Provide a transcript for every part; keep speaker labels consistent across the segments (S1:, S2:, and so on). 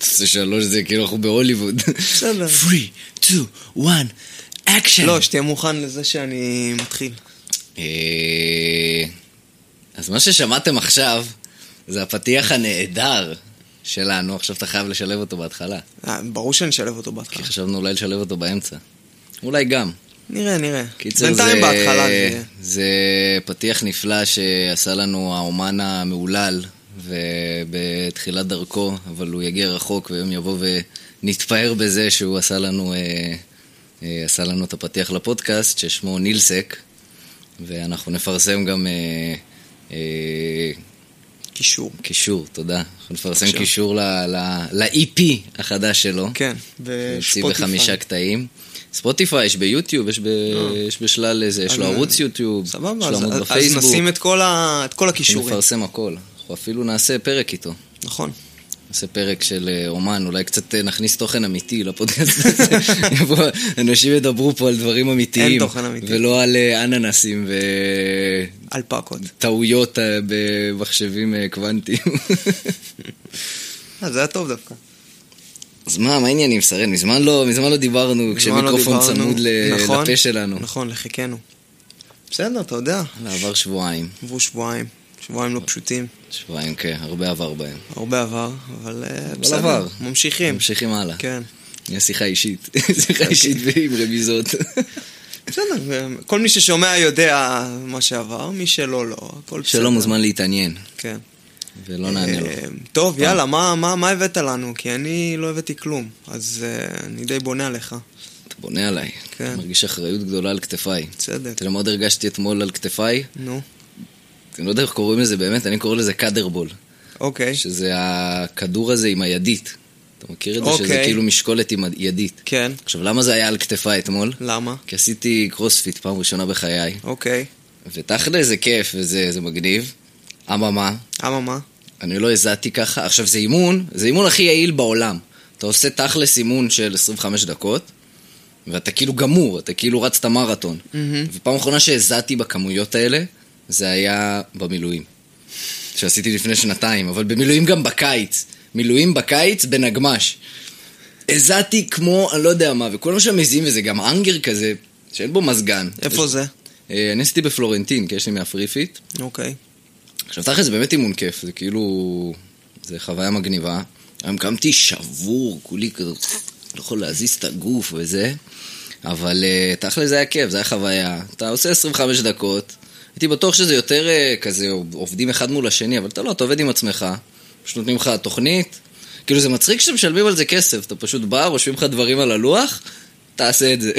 S1: עושה שלוש, זה כאילו אנחנו בהוליווד.
S2: בסדר.
S1: 3, 2, 1, אקשן.
S2: לא, שתהיה מוכן לזה שאני מתחיל.
S1: אה, אז מה ששמעתם עכשיו, זה הפתיח הנהדר שלנו, עכשיו אתה חייב לשלב אותו בהתחלה.
S2: אה, ברור שאני אשלב אותו
S1: כי
S2: בהתחלה.
S1: חשבנו אולי לשלב אותו באמצע. אולי גם.
S2: נראה, נראה.
S1: קיצר,
S2: בינתיים
S1: זה...
S2: בהתחלה זה... יהיה.
S1: זה פתיח נפלא שעשה לנו האומן המהולל, ובתחילת דרכו, אבל הוא יגיע רחוק, ויום יבוא ונתפאר בזה שהוא עשה לנו, אה, אה, עשה לנו את הפתיח לפודקאסט, ששמו נילסק, ואנחנו נפרסם גם... אה, אה,
S2: קישור.
S1: קישור, תודה. אנחנו נפרסם
S2: בבקשה.
S1: קישור ל- ל- ל-EP החדש שלו.
S2: כן,
S1: יוציא
S2: ושפוטיפיי.
S1: בחמישה קטעים. ספוטיפיי, יש ביוטיוב, יש, ב... יש בשלל איזה, יש לו
S2: אה. אז-
S1: ערוץ יוטיוב, יש
S2: סבבה,
S1: לו
S2: אז-
S1: עמוד
S2: אז- אז
S1: בפייסבוק,
S2: נשים את כל ה- את כל
S1: אנחנו
S2: הכישורים.
S1: נפרסם הכל. אנחנו אפילו נעשה פרק איתו.
S2: נכון.
S1: נעשה פרק של אה, אומן, אולי קצת אה, נכניס תוכן אמיתי לפודקאסט הזה. יבוא- אנשים ידברו פה על דברים אמיתיים.
S2: אין תוכן אמיתי.
S1: ולא על אה, אננסים ו...
S2: אלפקות.
S1: טעויות אה, במחשבים אה, קוונטיים.
S2: אה, זה היה טוב דווקא.
S1: אז מה, מה העניינים, שרן? מזמן לא, מזמן לא דיברנו,
S2: מזמן לא
S1: כשמיקרופון
S2: דיברנו.
S1: צמוד ל...
S2: נכון,
S1: לפה שלנו.
S2: נכון, לחיקנו. בסדר, אתה יודע.
S1: וואלה, עבר שבועיים.
S2: עברו שבועיים. שבועיים לא פשוטים.
S1: שבועיים, כן, הרבה עבר בהם.
S2: הרבה עבר, אבל אה, בסדר.
S1: עבר.
S2: ממשיכים.
S1: ממשיכים הלאה.
S2: כן. אוקיי.
S1: כן. שיחה אישית. שיחה אישית ועם רמיזות.
S2: בסדר, ו- כל מי ששומע יודע מה שעבר, מי שלא, לא. הכל בסדר.
S1: שלא מוזמן להתעניין,
S2: כן.
S1: ולא נענה לו.
S2: אה, טוב, יאללה, מה- מה מה הבאת לנו? כי אני לא הבאתי כלום, אז אה, אני די בונה עליך.
S1: אתה בונה עליי.
S2: כן.
S1: מרגיש אחריות גדולה על כתפיי.
S2: בסדר.
S1: אתה יודע מה עוד הרגשתי אתמול על כתפיי?
S2: נו,
S1: אני לא יודע איך קוראים לזה באמת, אני קורא לזה קאדרבול.
S2: אוקיי.
S1: שזה הכדור הזה עם הידית. אתה מכיר את זה? שזה
S2: אוקיי.
S1: כאילו משקולת עם הידית.
S2: כן,
S1: עכשיו, למה זה היה על כתפיי אתמול?
S2: למה?
S1: כי עשיתי קרוספיט פעם ראשונה בחיי,
S2: אוקיי.
S1: ותכל'ה זה כיף וזה זה מגניב. אממה,
S2: אממה?
S1: אני לא הזעתי ככה. עכשיו, זה אימון, זה אימון הכי יעיל בעולם. אתה עושה תכלס אימון של 25 דקות, ואתה כאילו גמור, אתה כאילו רץ את המרתון.
S2: מהמם.
S1: ופעם אחרונה שהזעתי בכמויות האלה, זה היה במילואים. שעשיתי לפני שנתיים, אבל במילואים גם בקיץ. מילואים בקיץ בנגמש. הזעתי כמו, אני לא יודע מה, וכולם שם מזיעים, וזה גם אנגר כזה, שאין בו מזגן.
S2: איפה זה?
S1: אה, אני עשיתי בפלורנטין, כי יש לי מהפריפית.
S2: אוקיי.
S1: עכשיו תכל'ס זה באמת אימון כיף, זה כאילו... זה חוויה מגניבה. היום קמתי שבור, כולי כזה, לא יכול להזיז את הגוף וזה, אבל אה, תכל'ס זה היה כיף, זה היה חוויה. אתה עושה 25 דקות, הייתי בטוח שזה יותר אה, כזה, עובדים אחד מול השני, אבל אתה לא, אתה עובד עם עצמך, פשוט נותנים לך תוכנית. כאילו זה מצחיק שאתם משלמים על זה כסף, אתה פשוט בא, רושמים לך דברים על הלוח, תעשה את זה.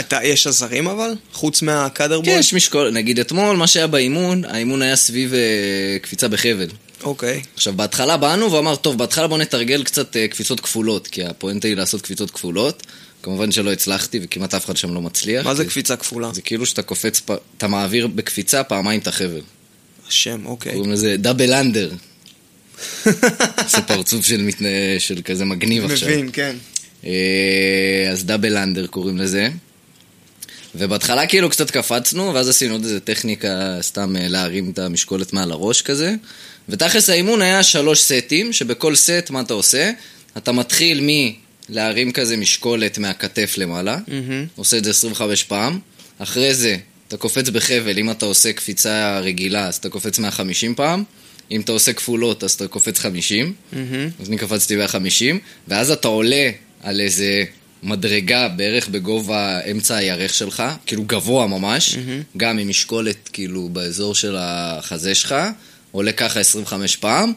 S2: אתה, יש עזרים אבל? חוץ מהקאדר
S1: כן,
S2: בוי?
S1: יש משקול, נגיד אתמול, מה שהיה באימון, האימון היה סביב אה, קפיצה בחבל.
S2: אוקיי.
S1: עכשיו, בהתחלה באנו ואמר, טוב, בהתחלה בוא נתרגל קצת אה, קפיצות כפולות, כי הפואנטה היא לעשות קפיצות כפולות. כמובן שלא הצלחתי, וכמעט אף אחד שם לא מצליח.
S2: מה זה
S1: כי-
S2: קפיצה כפולה?
S1: זה כאילו שאתה קופץ, פ- אתה מעביר בקפיצה פעמיים את החבל.
S2: השם, אוקיי.
S1: קוראים לזה דאבל אנדר. זה פרצוף של מתנה- של כזה מגניב עכשיו.
S2: מבין, כן.
S1: אה, אז דאבל אנדר קוראים לזה. ובהתחלה כאילו קצת קפצנו, ואז עשינו עוד איזה טכניקה סתם אה, להרים את המשקולת מעל הראש כזה. ותכלס האימון היה שלוש סטים, שבכל סט, מה אתה עושה? אתה מתחיל מלהרים כזה משקולת מהכתף למעלה,
S2: מהמם.
S1: עושה את זה 25 פעם, אחרי זה אתה קופץ בחבל, אם אתה עושה קפיצה רגילה אז אתה קופץ 150 פעם, אם אתה עושה כפולות אז אתה קופץ 50,
S2: מהמם.
S1: אז אני קפצתי 150, ואז אתה עולה על איזה מדרגה בערך בגובה אמצע הירך שלך, כאילו גבוה ממש, גם עם משקולת כאילו באזור של החזה שלך, עולה ככה 25 פעם,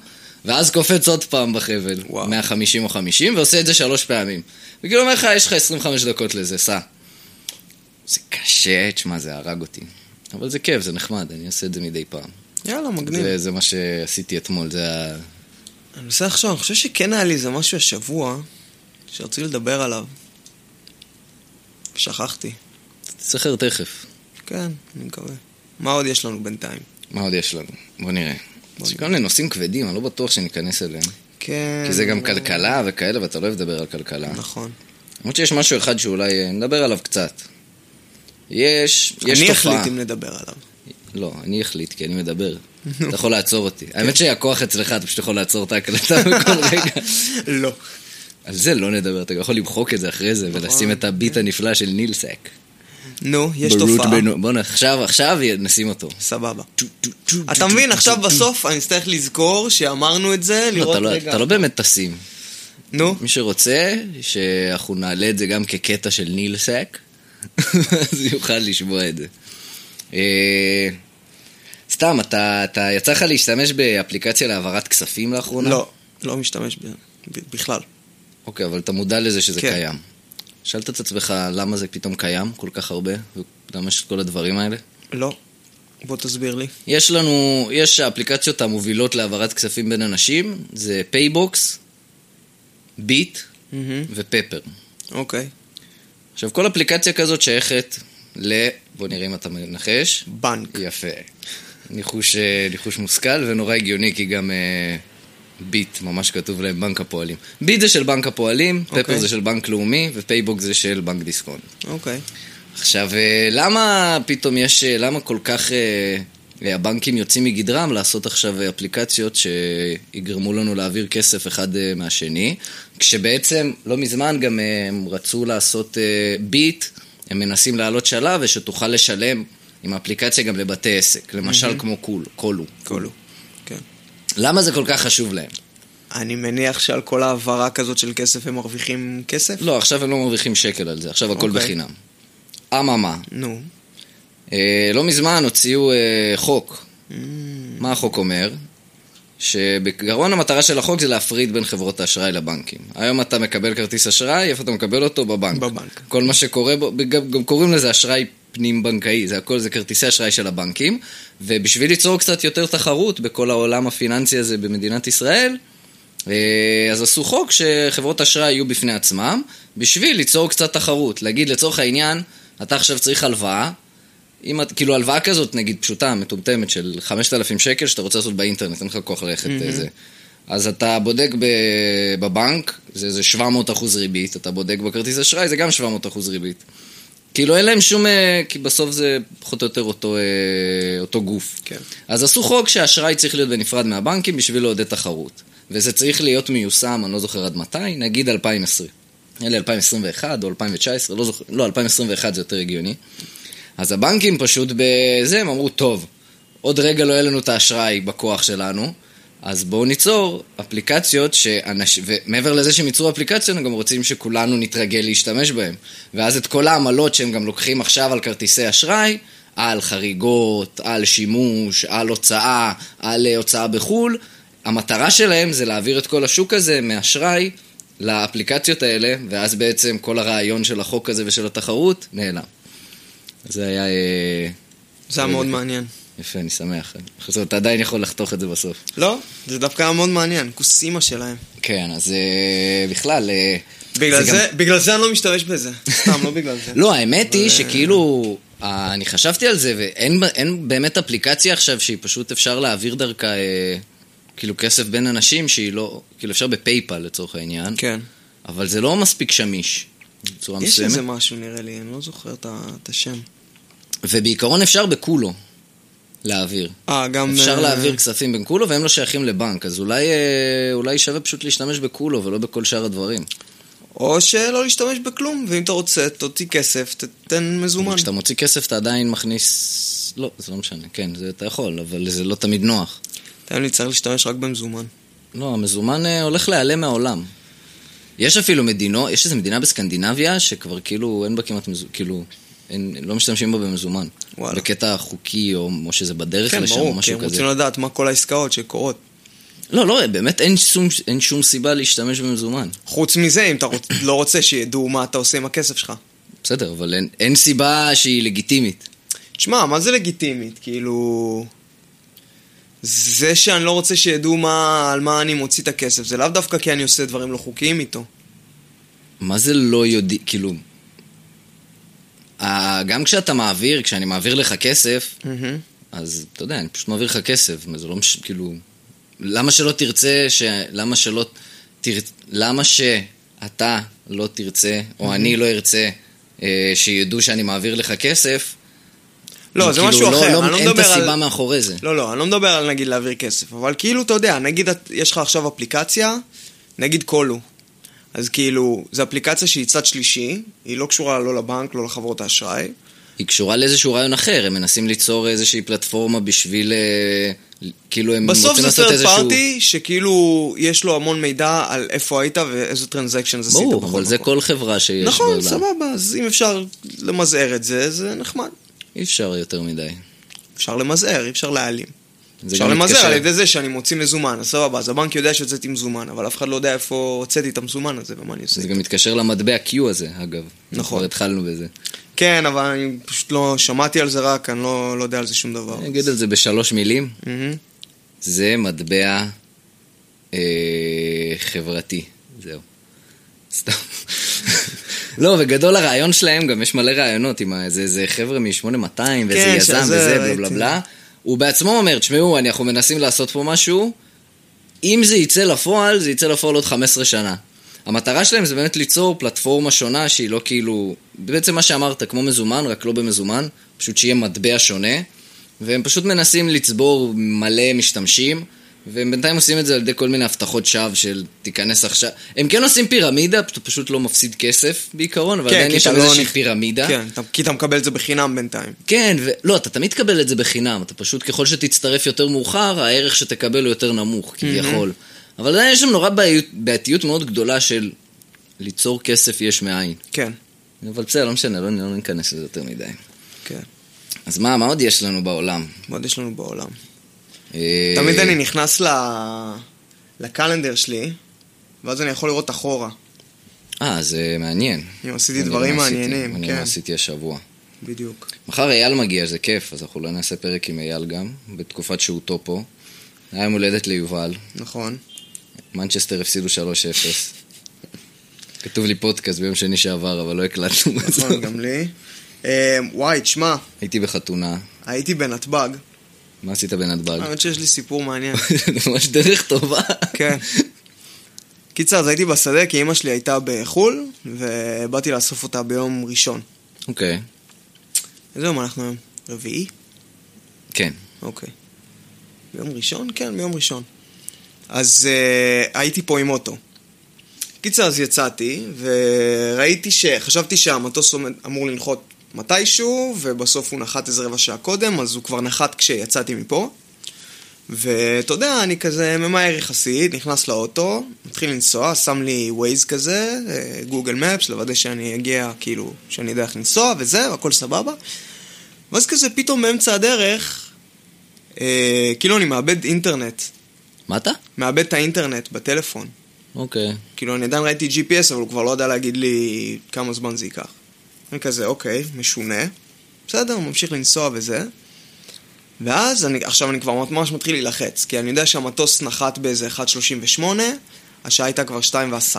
S1: ואז קופץ עוד פעם בחבל,
S2: וואו.
S1: 150 או 50, ועושה את זה שלוש פעמים. וכאילו אומר לך, יש לך 25 דקות לזה, סע. זה קשה, תשמע, זה הרג אותי. אבל זה כיף, זה נחמד, אני עושה את זה מדי פעם.
S2: יאללה, מגניב.
S1: זה, זה מה שעשיתי אתמול, זה ה...
S2: אני מנסה לחשוב, אני חושב שכן היה לי איזה משהו השבוע שרציתי לדבר עליו. שכחתי.
S1: תסחר תכף.
S2: כן, אני מקווה. מה עוד יש לנו בינתיים?
S1: מה עוד יש לנו? בוא נראה.
S2: בוא
S1: יש כל מיני נושאים כבדים, אני לא בטוח שניכנס אליהם.
S2: כן...
S1: כי זה גם
S2: לא-
S1: כלכלה וכאלה, ואתה לא אוהב לדבר על כלכלה.
S2: נכון.
S1: למרות שיש משהו אחד שאולי אה, נדבר עליו קצת. יש, יש
S2: אני
S1: תופעה.
S2: אחליט אם נדבר עליו.
S1: לא, אני אחליט, כי אני מדבר. אתה יכול לעצור אותי.
S2: כן.
S1: האמת שהכוח אצלך, אתה פשוט יכול לעצור את ההקלטה בכל רגע.
S2: לא.
S1: על זה לא נדבר, אתה יכול למחוק את זה אחרי זה
S2: נכון.
S1: ולשים את הביט הנפלא של נילסק.
S2: נו, יש
S1: ברוט
S2: תופעה.
S1: בנו- בוא'נה, עכשיו, עכשיו נשים אותו. לא,
S2: סבבה. אתה מבין, עכשיו בסוף אני אצטרך לזכור שאמרנו את זה,
S1: לא,
S2: לראות
S1: אתה לא-
S2: רגע.
S1: אתה לא באמת תשים.
S2: נו,
S1: מי שרוצה, שאנחנו נעלה את זה גם כקטע של נילסק, אז יוכל לשמוע את זה. אה, סתם, אתה, אתה יצא לך להשתמש באפליקציה להעברת כספים לאחרונה?
S2: לא, לא משתמש ב- ב- בכלל.
S1: אוקיי, אבל אתה מודע לזה שזה
S2: כן.
S1: קיים. שאלת את עצמך למה זה פתאום קיים כל כך הרבה? למה יש את כל הדברים האלה?
S2: לא. בוא תסביר לי.
S1: יש לנו, יש האפליקציות המובילות להעברת כספים בין אנשים, זה פייבוקס, ביט
S2: מהמם.
S1: ופפר.
S2: אוקיי.
S1: עכשיו, כל אפליקציה כזאת שייכת ל... בוא נראה אם אתה מנחש.
S2: בנק.
S1: יפה. ניחוש, אה, ניחוש מושכל ונורא הגיוני, כי גם אה, ביט, ממש כתוב להם בנק הפועלים. ביט זה של בנק הפועלים, okay. פפר
S2: אוקיי.
S1: זה של בנק לאומי, ופייבוק זה של בנק דיסקונט.
S2: אוקיי.
S1: עכשיו, אה, למה פתאום יש, אה, למה כל כך אה, הבנקים יוצאים מגדרם לעשות עכשיו אה, אפליקציות שיגרמו לנו להעביר כסף אחד אה, מהשני, כשבעצם לא מזמן גם אה, הם רצו לעשות אה, ביט, הם מנסים לעלות שלב ושתוכל לשלם עם האפליקציה גם לבתי עסק, למשל כמו קול, קולו.
S2: קולו. כן.
S1: למה זה כל כך חשוב להם?
S2: אני מניח שעל כל העברה כזאת של כסף הם מרוויחים כסף?
S1: לא, עכשיו הם לא מרוויחים שקל על זה, עכשיו הכל
S2: אוקיי.
S1: בחינם. אממה,
S2: נו.
S1: אה, לא מזמן הוציאו אה, חוק
S2: אמ,
S1: מה החוק אומר? שבגרון המטרה של החוק זה להפריד בין חברות האשראי לבנקים. היום אתה מקבל כרטיס אשראי, איפה אתה מקבל אותו? בבנק.
S2: בבנק.
S1: כל מה שקורה בו, גם, גם קוראים לזה אשראי פנים-בנקאי, זה הכל, זה כרטיסי אשראי של הבנקים, ובשביל ליצור קצת יותר תחרות בכל העולם הפיננסי הזה במדינת ישראל, אה, אז עשו חוק שחברות אשראי יהיו בפני עצמם, בשביל ליצור קצת תחרות. להגיד, לצורך העניין, אתה עכשיו צריך הלוואה, אם את, כאילו הלוואה כזאת, נגיד פשוטה, מטומטמת, של 5,000 שקל שאתה רוצה לעשות באינטרנט, אין לך כוח ללכת mm-hmm. זה. אז אתה בודק ב, בבנק, זה איזה 700 אחוז ריבית, אתה בודק בכרטיס אשראי, זה גם 700 אחוז ריבית. כאילו אין להם שום, אה, כי בסוף זה פחות או יותר אותו, אה, אותו גוף.
S2: כן.
S1: אז עשו חוק שהאשראי צריך להיות בנפרד מהבנקים בשביל לעודד תחרות. וזה צריך להיות מיושם, אני לא זוכר עד מתי, נגיד 2020. אלה 2021 או 2019, לא זוכר, לא, 2021 זה יותר הגיוני. אז הבנקים פשוט בזה, הם אמרו, טוב, עוד רגע לא יהיה לנו את האשראי בכוח שלנו, אז בואו ניצור אפליקציות שאנש... ומעבר לזה שהם ייצרו אפליקציות, הם גם רוצים שכולנו נתרגל להשתמש בהן. ואז את כל העמלות שהם גם לוקחים עכשיו על כרטיסי אשראי, על חריגות, על שימוש, על הוצאה, על אה, הוצאה בחו"ל, המטרה שלהם זה להעביר את כל השוק הזה מאשראי לאפליקציות האלה, ואז בעצם כל הרעיון של החוק הזה ושל התחרות נעלם. זה היה... אה,
S2: זה היה מאוד מעניין.
S1: יפה, אני שמח. חסר, אתה עדיין יכול לחתוך את זה בסוף.
S2: לא, זה דווקא היה מאוד מעניין. כוס אימא שלהם.
S1: כן, אז אה, בכלל... אה,
S2: בגלל
S1: גם-
S2: זה, בגלל זה אני לא משתמש בזה. סתם, לא בגלל זה.
S1: לא, האמת היא שכאילו... אה, אני חשבתי על זה, ואין ב- אין באמת אפליקציה עכשיו שהיא פשוט אפשר להעביר דרכה אה, כאילו כסף בין אנשים שהיא לא... כאילו אפשר בפייפל לצורך העניין,
S2: כן.
S1: אבל זה לא מספיק שמיש בצורה
S2: יש איזה
S1: מסוימת.
S2: משהו נראה לי, אני לא זוכר את ה- את השם.
S1: ובעיקרון אפשר בקולו להעביר.
S2: אה, גם...
S1: אפשר
S2: אה,
S1: להעביר כספים בין קולו והם לא שייכים לבנק, אז אולי, אה, אולי שווה פשוט להשתמש בקולו ולא בכל שאר הדברים.
S2: או שלא להשתמש בכלום, ואם אתה רוצה, תוציא כסף, תתן מזומן.
S1: אבל כאילו, כשאתה מוציא כסף אתה עדיין מכניס... לא, זה לא משנה, כן, זה אתה יכול, אבל זה לא תמיד נוח.
S2: תן לי, צריך להשתמש רק במזומן.
S1: לא, המזומן אה, הולך להיעלם מהעולם. יש אפילו מדינו, יש איזו מדינה בסקנדינביה שכבר כאילו אין בה כמעט מזומן, כאילו, אין, לא משתמשים בה במזומן.
S2: וואלה.
S1: בקטע חוקי, או, או שזה בדרך
S2: כן,
S1: לשם, או
S2: ברור, כי
S1: משהו
S2: הם
S1: כזה.
S2: רוצים לדעת מה כל העסקאות שקורות.
S1: לא, לא, באמת אין שום, אין שום סיבה להשתמש במזומן.
S2: חוץ מזה, אם אתה רוצ- לא רוצה שידעו מה אתה עושה עם הכסף שלך.
S1: בסדר, אבל אין, אין סיבה שהיא לגיטימית.
S2: תשמע, מה זה לגיטימית? כאילו... זה שאני לא רוצה שידעו מה, על מה אני מוציא את הכסף, זה לאו דווקא כי אני עושה דברים לא חוקיים איתו.
S1: מה זה לא יודע... כאילו... ה- גם כשאתה מעביר, כשאני מעביר לך כסף, אז אתה יודע, אני פשוט מעביר לך כסף, זה לא מש... כאילו... למה שלא תרצה ש... למה שלא... תר... למה שאתה לא
S2: Mm-hmm.
S1: תרצה, או אני לא ארצה, אה, שידעו שאני מעביר לך כסף,
S2: לא, זה משהו אחר, אני לא
S1: אין את
S2: מדבר
S1: הסיבה
S2: על-
S1: מאחורי זה.
S2: לא, לא, אני לא מדבר על נגיד להעביר כסף, אבל כאילו, אתה יודע, נגיד את- יש לך עכשיו אפליקציה, נגיד קולו. אז כאילו, זו אפליקציה שהיא צד שלישי, היא לא קשורה לא לבנק, לא לחברות האשראי.
S1: היא קשורה לאיזשהו רעיון אחר, הם מנסים ליצור איזושהי פלטפורמה בשביל... אה, כאילו הם
S2: בסוף
S1: רוצים
S2: זה
S1: לעשות
S2: third
S1: איזשהו...
S2: party, שכאילו, יש לו המון מידע על איפה היית ואיזה טרנזקשן עשית.
S1: ברור,
S2: בכל
S1: אבל זה
S2: מקום.
S1: כל חברה שיש בעולם.
S2: נכון, סבבה, אז אם אפשר למזער את זה, זה נחמד.
S1: אי אפשר יותר מדי.
S2: אפשר למזער, אי אפשר להעלים.
S1: זה
S2: אפשר
S1: גם
S2: למזער
S1: מתקשר-
S2: על ידי זה שאני מוציא מזומן, אז סבבה, אז הבנק יודע שהוצאתי מזומן, אבל אף אחד לא יודע איפה הוצאתי את המזומן הזה ומה אני עושה.
S1: זה גם מתקשר למטבע Q הזה, אגב.
S2: נכון.
S1: כבר התחלנו בזה.
S2: כן, אבל אני פשוט לא שמעתי על זה רק, אני לא לא יודע על זה שום דבר.
S1: אני אגיד את זה בשלוש מילים.
S2: מהמם.
S1: זה מטבע אה, חברתי. זהו. סתם. לא, וגדול הרעיון שלהם, גם יש מלא רעיונות עם ה- זה, זה חבר'ה מ-8200, ואיזה
S2: כן,
S1: יזם
S2: שזה
S1: וזה, בלה בלה
S2: ראיתי.
S1: בלה. הוא בעצמו אומר, תשמעו, אני- אנחנו מנסים לעשות פה משהו, אם זה יצא לפועל, זה יצא לפועל עוד 15 שנה. המטרה שלהם זה באמת ליצור פלטפורמה שונה שהיא לא כאילו... בעצם מה שאמרת, כמו מזומן, רק לא במזומן, פשוט שיהיה מטבע שונה, והם פשוט מנסים לצבור מלא משתמשים, והם בינתיים עושים את זה על ידי כל מיני הבטחות שווא של תיכנס עכשיו... הם כן עושים פירמידה, אתה פשוט לא מפסיד כסף בעיקרון, אבל
S2: כן,
S1: עדיין
S2: כי
S1: יש
S2: אתה
S1: שם
S2: לא
S1: איזושהי
S2: נכ-
S1: פירמידה.
S2: כן, אתה- כי אתה מקבל את זה בחינם בינתיים.
S1: כן, ו... לא, אתה תמיד תקבל את זה בחינם, אתה פשוט, ככל שתצטרף יותר מאוחר, הערך שתקבל הוא יותר נמוך, כביכול. אבל עדיין יש שם נורא בעיות- בעייתיות מאוד גדולה של ליצור כסף יש מאין.
S2: כן,
S1: אבל בסדר, לא משנה, לא, לא ניכנס לזה יותר מדי.
S2: כן.
S1: אז מה, מה עוד יש לנו בעולם?
S2: מה עוד יש לנו בעולם?
S1: אה,
S2: תמיד אני נכנס ל- לקלנדר שלי, ואז אני יכול לראות אחורה.
S1: אה, זה מעניין.
S2: אני עשיתי
S1: אני לא
S2: דברים
S1: עשיתי,
S2: מעניינים,
S1: אני לא
S2: כן,
S1: עשיתי השבוע.
S2: בדיוק.
S1: מחר אייל מגיע, זה כיף, אז אנחנו אולי נעשה פרק עם אייל גם, בתקופת שהותו פה. היה יום הולדת ליובל.
S2: נכון.
S1: מנצ'סטר הפסידו 3-0. כתוב לי פודקאסט ביום שני שעבר, אבל לא הקלטנו
S2: נכון,
S1: אותו.
S2: גם לי. אה, וואי, תשמע,
S1: הייתי בחתונה,
S2: הייתי בנתב"ג.
S1: אוקיי. מה עשית בנתב"ג?
S2: האמת שיש לי סיפור מעניין.
S1: זה ממש דרך טובה.
S2: כן. קיצר, אז הייתי בשדה כי אימא שלי הייתה בחו"ל, ובאתי לאסוף אותה ביום ראשון.
S1: אוקיי,
S2: איזה יום אנחנו היום? רביעי?
S1: כן.
S2: אוקיי. ביום ראשון? כן, ביום ראשון. אז uh, הייתי פה עם אוטו. קיצר, אז יצאתי, וראיתי ש... חשבתי שהמטוס עומד- אמור לנחות מתישהו, ובסוף הוא נחת איזה רבע שעה קודם, אז הוא כבר נחת כשיצאתי מפה. ואתה יודע, אני כזה ממהר יחסית, נכנס לאוטו, מתחיל לנסוע, שם לי ווייז כזה, גוגל מפס, לוודא שאני אגיע, כאילו, שאני יודע איך לנסוע וזה, והכל סבבה. ואז כזה פתאום באמצע הדרך, אה, כאילו אני מאבד אינטרנט,
S1: מה אתה?
S2: מאבד את האינטרנט בטלפון.
S1: אוקיי.
S2: כאילו אני עדיין ראיתי GPS, אבל הוא כבר לא יודע להגיד לי כמה זמן זה ייקח. אני כזה, אוקיי, משונה. בסדר, ממשיך לנסוע וזה. ואז אני, עכשיו אני כבר ממש מתחיל להילחץ, כי אני יודע שהמטוס נחת באיזה 1.38, השעה הייתה כבר 2.10,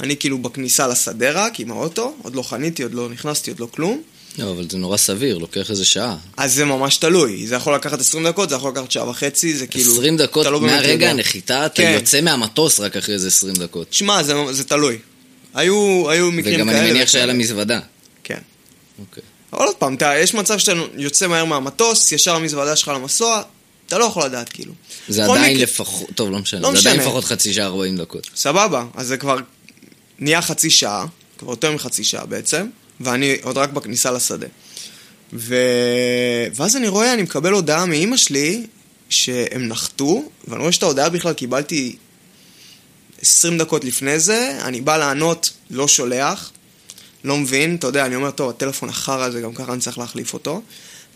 S2: אני כאילו בכניסה לשדה רק עם האוטו, עוד לא חניתי, עוד לא נכנסתי, עוד לא כלום.
S1: לא, אבל זה נורא סביר, לוקח איזה שעה.
S2: אז זה ממש תלוי, זה יכול לקחת 20 דקות, זה יכול לקחת שעה וחצי, זה כאילו...
S1: 20 דקות
S2: אתה לא באמת
S1: מהרגע
S2: יודע.
S1: הנחיתה, אתה
S2: כן.
S1: יוצא מהמטוס רק אחרי איזה 20 דקות.
S2: שמע, זה, זה תלוי. היו, היו מקרים
S1: וגם
S2: כאלה.
S1: אני מניח
S2: וכאלה.
S1: שהיה לה מזוודה.
S2: כן.
S1: אוקיי.
S2: אבל עוד פעם, אתה, יש מצב שאתה יוצא מהר מהמטוס, ישר המזוודה שלך למסוע, אתה לא יכול לדעת כאילו.
S1: זה
S2: בכל
S1: עדיין
S2: מקרה-
S1: לפחות, טוב, לא משנה.
S2: לא
S1: זה עדיין
S2: משנה.
S1: לפחות חצי שעה 40 דקות.
S2: סבבה, אז זה כבר נהיה חצי שעה, כבר יותר מחצי שעה בעצם, ואני עוד רק בכניסה לשדה. ו... ואז אני רואה, אני מקבל הודעה מאימא שלי שהם נחתו, ואני רואה שאת ההודעה בכלל קיבלתי 20 דקות לפני זה, אני בא לענות, לא שולח, לא מבין, אתה יודע, אני אומר, טוב, הטלפון החרא הזה, גם ככה אני צריך להחליף אותו.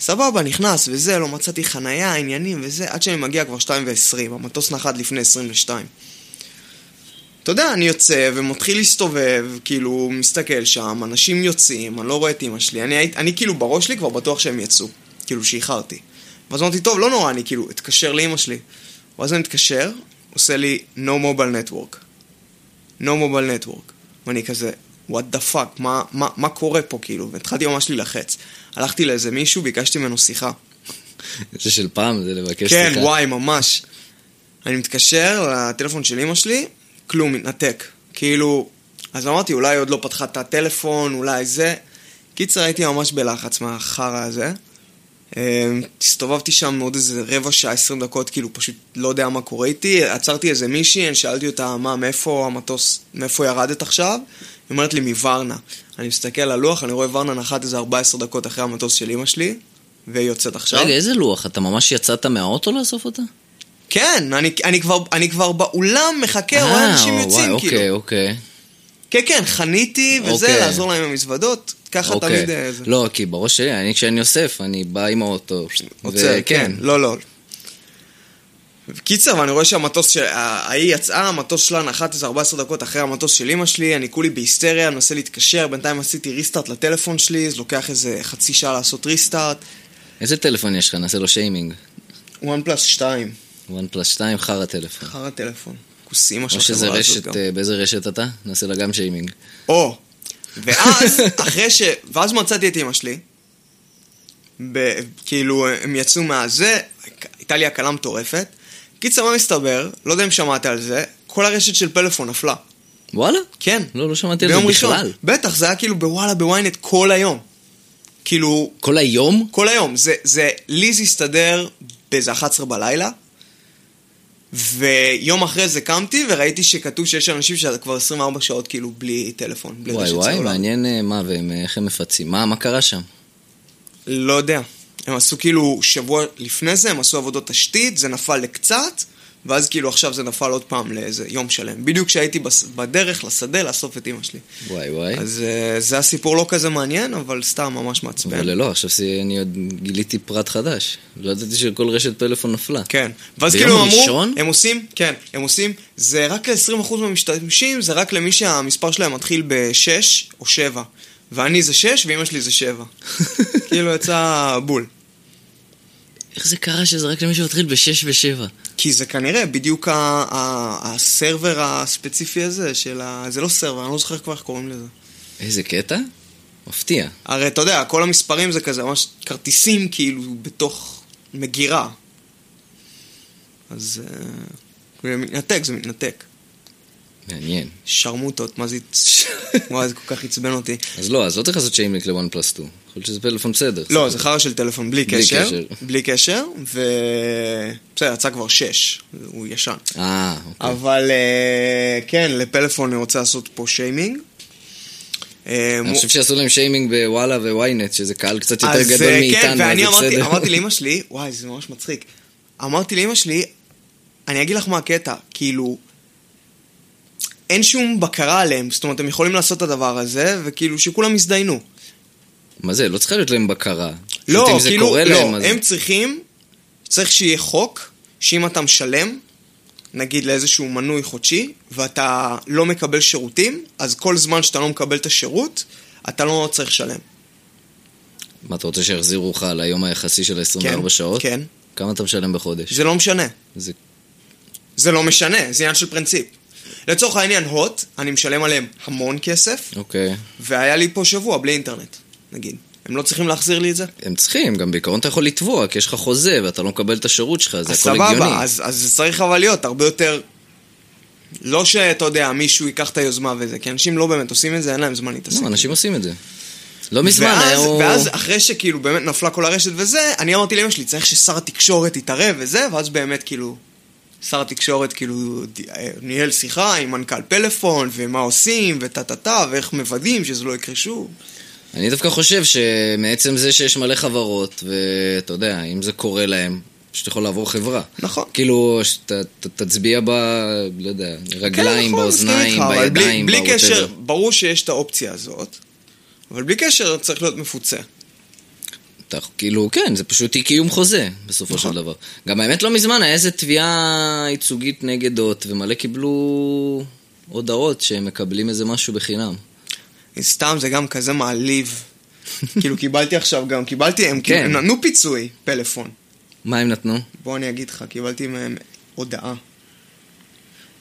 S2: סבבה, נכנס וזה, לא מצאתי חנייה, עניינים וזה, עד שאני מגיע כבר 2 ו-20, המטוס נחת לפני 22. אתה יודע, אני יוצא ומתחיל להסתובב, כאילו, מסתכל שם, אנשים יוצאים, אני לא רואה את אימא שלי, אני, הייתי- אני כאילו בראש שלי כבר בטוח שהם יצאו, כאילו שאיחרתי. ואז אמרתי, טוב, לא נורא, אני כאילו אתקשר לאימא שלי. ואז אני מתקשר, עושה לי no mobile network. no mobile network. ואני כזה, what the fuck, מה, מה, מה קורה פה כאילו? והתחלתי ממש להילחץ. הלכתי לאיזה מישהו, ביקשתי ממנו שיחה.
S1: זה של פעם, זה לבקש
S2: כן,
S1: סליחה.
S2: וואי, ממש. אני מתקשר לטלפון של אמא שלי, כלום, מתנתק. כאילו, אז אמרתי, אולי היא עוד לא פתחה את הטלפון, אולי זה. קיצר, הייתי ממש בלחץ מהחרא הזה. אה, הסתובבתי שם עוד איזה רבע שעה, עשרים דקות, כאילו פשוט לא יודע מה קורה איתי. עצרתי איזה מישהי, אני שאלתי אותה, מה, מאיפה המטוס, מאיפה ירדת עכשיו? היא אומרת לי, מוורנה. אני מסתכל על הלוח, אני רואה ורנה נחת איזה 14 דקות אחרי המטוס של אימא שלי, והיא יוצאת עכשיו.
S1: רגע, איזה לוח? אתה ממש יצאת מהאוטו לאסוף אותה?
S2: כן, אני, אני, כבר, אני כבר באולם מחכה, רואה כן, אנשים
S1: אה,
S2: יוצאים,
S1: וואי,
S2: כאילו.
S1: אוקיי, אוקיי.
S2: כן, כן, חניתי וזה,
S1: אוקיי.
S2: לעזור להם עם המזוודות, ככה
S1: אוקיי.
S2: תמיד... אה, זה.
S1: לא, כי בראש שלי, אני כשאני אוסף, אני בא עם האוטו.
S2: עוצר,
S1: וכן.
S2: כן, לא, לא. קיצר, ואני רואה שהמטוס של... ההיא יצאה, המטוס שלה נחת איזה 14 דקות אחרי המטוס של אמא שלי, אני כולי בהיסטריה, אני מנסה להתקשר, בינתיים עשיתי ריסטארט לטלפון שלי, זה לוקח איזה חצי שעה לעשות ריסטארט.
S1: איזה טלפון יש לך? נעשה לו שיימינג.
S2: וואן פלאס 2,
S1: וואן פלאס 2, חרא טלפון.
S2: אחר הטלפון. כוס אימא של
S1: או שזה
S2: החברה הזאת
S1: רשת,
S2: גם.
S1: אה, באיזה רשת אתה? נעשה לה גם שיימינג.
S2: או. ואז, אחרי ש... ואז מצאתי את אמא שלי. ב... כאילו, הם יצאו מהזה, הייתה לי הקלה מטורפת. קיצר, מה מסתבר? לא יודע אם שמעת על זה, כל הרשת של פלאפון נפלה.
S1: וואלה?
S2: כן.
S1: לא, לא שמעתי על זה בכלל.
S2: בטח, זה היה כאילו בוואלה, בוויינט כל היום. כאילו,
S1: כל היום?
S2: כל היום. זה, זה, לי זה הסתדר באיזה 11 בלילה, ויום אחרי זה קמתי וראיתי שכתוב שיש אנשים שאתה כבר 24 שעות כאילו בלי טלפון, בלי
S1: וואי
S2: רשת
S1: וואי,
S2: סלולרית.
S1: מעניין אה, מה, והם, אה, איך הם מפצים. מה, מה קרה שם?
S2: לא יודע. הם עשו כאילו שבוע לפני זה, הם עשו עבודות תשתית, זה נפל לקצת, ואז כאילו עכשיו זה נפל עוד פעם לאיזה יום שלם. בדיוק כשהייתי בס- בדרך לשדה לאסוף את אימא שלי.
S1: וואי וואי.
S2: אז אה, זה הסיפור לא כזה מעניין, אבל סתם ממש מעצבן.
S1: אבל לא, עכשיו זה- אני עוד גיליתי פרט חדש. לא ידעתי שכל רשת פלאפון נפלה.
S2: כן. ואז
S1: ביום
S2: כאילו הם אמרו,
S1: הראשון?
S2: הם עושים, כן, הם עושים, זה רק ל-20% מהמשתמשים, זה רק למי שהמספר שלהם מתחיל ב-6 או 7. ואני זה 6 ואימא שלי זה 7. כאילו יצא בול.
S1: איך זה קרה שזה רק למי שמתחיל בשש ושבע?
S2: כי זה כנראה בדיוק ה- ה- הסרבר הספציפי הזה של ה... זה לא סרבר, אני לא זוכר כבר איך קוראים לזה.
S1: איזה קטע? מפתיע.
S2: הרי אתה יודע, כל המספרים זה כזה ממש כרטיסים כאילו בתוך מגירה. אז אה, זה מתנתק, זה מתנתק.
S1: מעניין.
S2: שרמוטות, מה זה... וואי, זה כל כך עצבן אותי.
S1: אז לא, אז לא צריך לעשות שיימליק לוואן פלאס 2. יכול להיות שזה פלאפון בסדר.
S2: לא, זה חרא של טלפון, בלי
S1: בלי
S2: קשר.
S1: קשר.
S2: בלי קשר, ו... בסדר, יצא כבר שש, הוא ישן.
S1: אה, אוקיי.
S2: אבל אה, כן, לפלאפון אני רוצה לעשות פה שיימינג. אה,
S1: אני חושב שעשו להם שיימינג בוואלה וויינט, שזה קהל קצת יותר
S2: אז,
S1: גדול
S2: אה,
S1: מאיתנו,
S2: כן,
S1: אז
S2: ואני
S1: זה
S2: אמרתי,
S1: בסדר.
S2: אמרתי לאמא שלי, וואי, זה ממש מצחיק. אמרתי לאמא שלי, אני אגיד לך מה הקטע, כאילו, אין שום בקרה עליהם, זאת אומרת, הם יכולים לעשות את הדבר הזה, וכאילו, שכולם יזדיינו.
S1: מה זה, לא צריכה להיות להם בקרה. פשוט
S2: לא,
S1: אם זה
S2: כאילו,
S1: קורה להם,
S2: לא,
S1: אז-
S2: הם צריכים, צריך שיהיה חוק, שאם אתה משלם, נגיד לאיזשהו מנוי חודשי, ואתה לא מקבל שירותים, אז כל זמן שאתה לא מקבל את השירות, אתה לא צריך לשלם.
S1: מה, אתה רוצה שיחזירו לך על היום היחסי של
S2: כן,
S1: ה-24 שעות?
S2: כן.
S1: כמה אתה משלם בחודש?
S2: זה לא משנה.
S1: זה-
S2: זה לא משנה, זה עניין של פרינציפ. לצורך העניין, הוט, אני משלם עליהם המון כסף,
S1: אוקיי.
S2: והיה לי פה שבוע בלי אינטרנט, נגיד. הם לא צריכים להחזיר לי את זה?
S1: הם צריכים, גם בעיקרון אתה יכול לתבוע, כי יש לך חוזה ואתה לא מקבל את השירות שלך, זה
S2: אז
S1: הכל הגיוני.
S2: סבבה, אז, אז זה צריך אבל להיות הרבה יותר... לא שאתה יודע, מישהו ייקח את היוזמה וזה, כי אנשים לא באמת עושים את זה, אין להם זמן להתעסק.
S1: לא, אנשים עושים את זה. לא מזמן,
S2: ואז,
S1: היה הוא...
S2: ואז אחרי שכאילו באמת נפלה כל הרשת וזה, אני אמרתי לאמא שלי, צריך ששר התקשורת יתערב וזה, ואז באמת כאילו, שר התקשורת כאילו ד- אה, ניהל שיחה עם מנכ"ל פלאפון, ומה עושים, וטה טה טה, ואיך מוודאים שזה לא יקרה שוב.
S1: אני דווקא חושב שמעצם זה שיש מלא חברות, ואתה יודע, אם זה קורה להם, פשוט יכול לעבור חברה.
S2: נכון.
S1: כאילו, שאתה ת- תצביע ב... לא יודע, רגליים,
S2: נכון,
S1: באוזניים,
S2: מסכים איתך, אבל בלי-
S1: בידיים,
S2: בלי
S1: ב-whatever.
S2: קשר, ברור שיש את האופציה הזאת, אבל בלי קשר צריך להיות מפוצה.
S1: אתה כאילו, כן, זה פשוט אי קיום חוזה, בסופו
S2: נכון.
S1: של דבר. גם האמת לא מזמן, היה איזה תביעה ייצוגית נגד הוט, ומלא קיבלו הודעות שהם מקבלים איזה משהו בחינם.
S2: סתם זה גם כזה מעליב. כאילו קיבלתי עכשיו גם, קיבלתי, הם כאילו,
S1: כן.
S2: הם נתנו פיצוי, פלאפון.
S1: מה הם נתנו?
S2: בוא אני אגיד לך, קיבלתי מהם הודעה.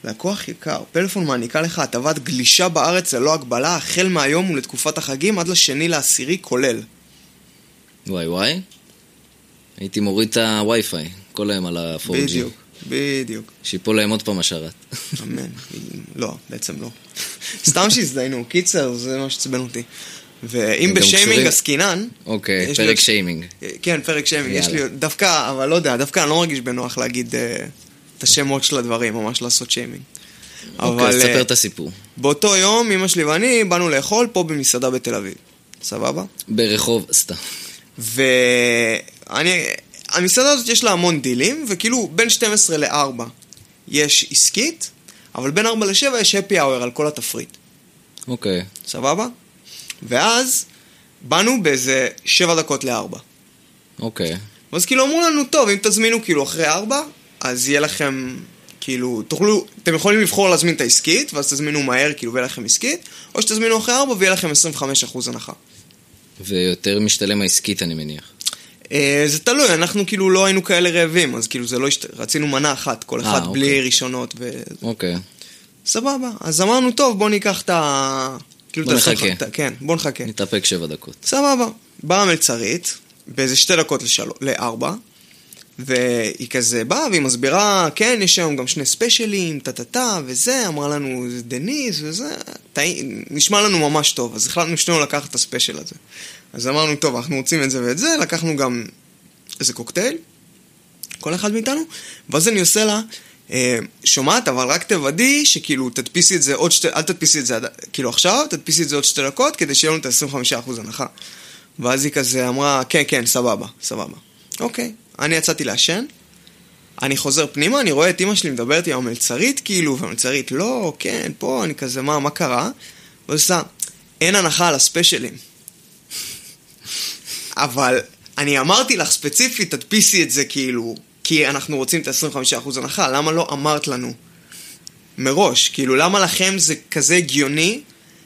S2: לקוח יקר, פלאפון מעניקה לך הטבת גלישה בארץ ללא הגבלה, החל מהיום ולתקופת החגים עד לשני לעשירי כולל.
S1: וואי וואי. הייתי מוריד את הווי-פיי, כל היום על ה-4G.
S2: בדיוק, בדיוק.
S1: שיפול להם עוד פעם השרת.
S2: אמן. לא, בעצם לא. סתם שהזדיינו, קיצר, זה מה שעצבן אותי. ואם
S1: הם גם קשורים-
S2: בשיימינג עסקינן...
S1: אוקיי,
S2: יש לי-
S1: פרק שיימינג.
S2: כן, פרק שיימינג. יש לי
S1: יאללה.
S2: דווקא, אבל לא יודע, דווקא אני לא מרגיש בנוח להגיד אה, את השמות של הדברים, ממש לעשות שיימינג.
S1: אוקיי, אז
S2: אבל
S1: תספר
S2: אה,
S1: את הסיפור.
S2: באותו יום, אמא שלי ואני באנו לאכול פה במסעדה בתל אביב. סבבה?
S1: ברחוב, סתם.
S2: ואני... המסעדה הזאת יש לה המון דילים, וכאילו בין 12 ל-4 יש עסקית, אבל בין 4 ל-7 יש happy hour על כל התפריט.
S1: אוקיי.
S2: סבבה? ואז באנו באיזה 7 דקות ל-4.
S1: אוקיי.
S2: ואז כאילו אמרו לנו, טוב, אם תזמינו כאילו אחרי 4, אז יהיה לכם, כאילו, תוכלו, אתם יכולים לבחור להזמין את העסקית, ואז תזמינו מהר, כאילו, ויהיה לכם עסקית, או שתזמינו אחרי 4 ויהיה לכם 25% הנחה.
S1: ויותר משתלם העסקית, אני מניח.
S2: אה, זה תלוי, אנחנו כאילו לא היינו כאלה רעבים, אז כאילו זה לא... השת... רצינו מנה אחת, כל
S1: אה,
S2: אחד
S1: אוקיי.
S2: בלי ראשונות ו...
S1: אוקיי.
S2: סבבה. אז אמרנו, טוב, בוא ניקח את ה... כאילו,
S1: בוא
S2: את ה-
S1: נחכה.
S2: את ה- כן, בוא נחכה.
S1: נתאפק שבע דקות.
S2: סבבה. באה המלצרית, באיזה שתי דקות לשל... לארבע, והיא כזה באה והיא מסבירה, כן, יש היום גם שני ספיישלים, טה-טה-טה, וזה, אמרה לנו, זה דניס וזה, טעי... נשמע לנו ממש טוב, אז החלטנו שנינו לקחת את הספיישל הזה. אז אמרנו, טוב, אנחנו רוצים את זה ואת זה, לקחנו גם איזה קוקטייל, כל אחד מאיתנו, ואז אני עושה לה, אה, שומעת, אבל רק תוודאי שכאילו תדפיסי את זה עוד שתי, אל תדפיסי את זה עד, כאילו עכשיו, תדפיסי את זה עוד שתי דקות, כדי שיהיה לנו את ה-25% הנחה. ואז היא כזה אמרה, כן, כן, סבבה, סבבה. אוקיי, אני יצאתי לעשן, אני חוזר פנימה, אני רואה את אימא שלי מדברת עם המלצרית, כאילו, והמלצרית, לא, כן, פה, אני כזה, מה, מה קרה? ואז עושה, אין הנחה על הספיישלים. אבל אני אמרתי לך ספציפית, תדפיסי את זה כאילו, כי אנחנו רוצים את ה-25% הנחה, למה לא אמרת לנו מראש? כאילו, למה לכם זה כזה הגיוני,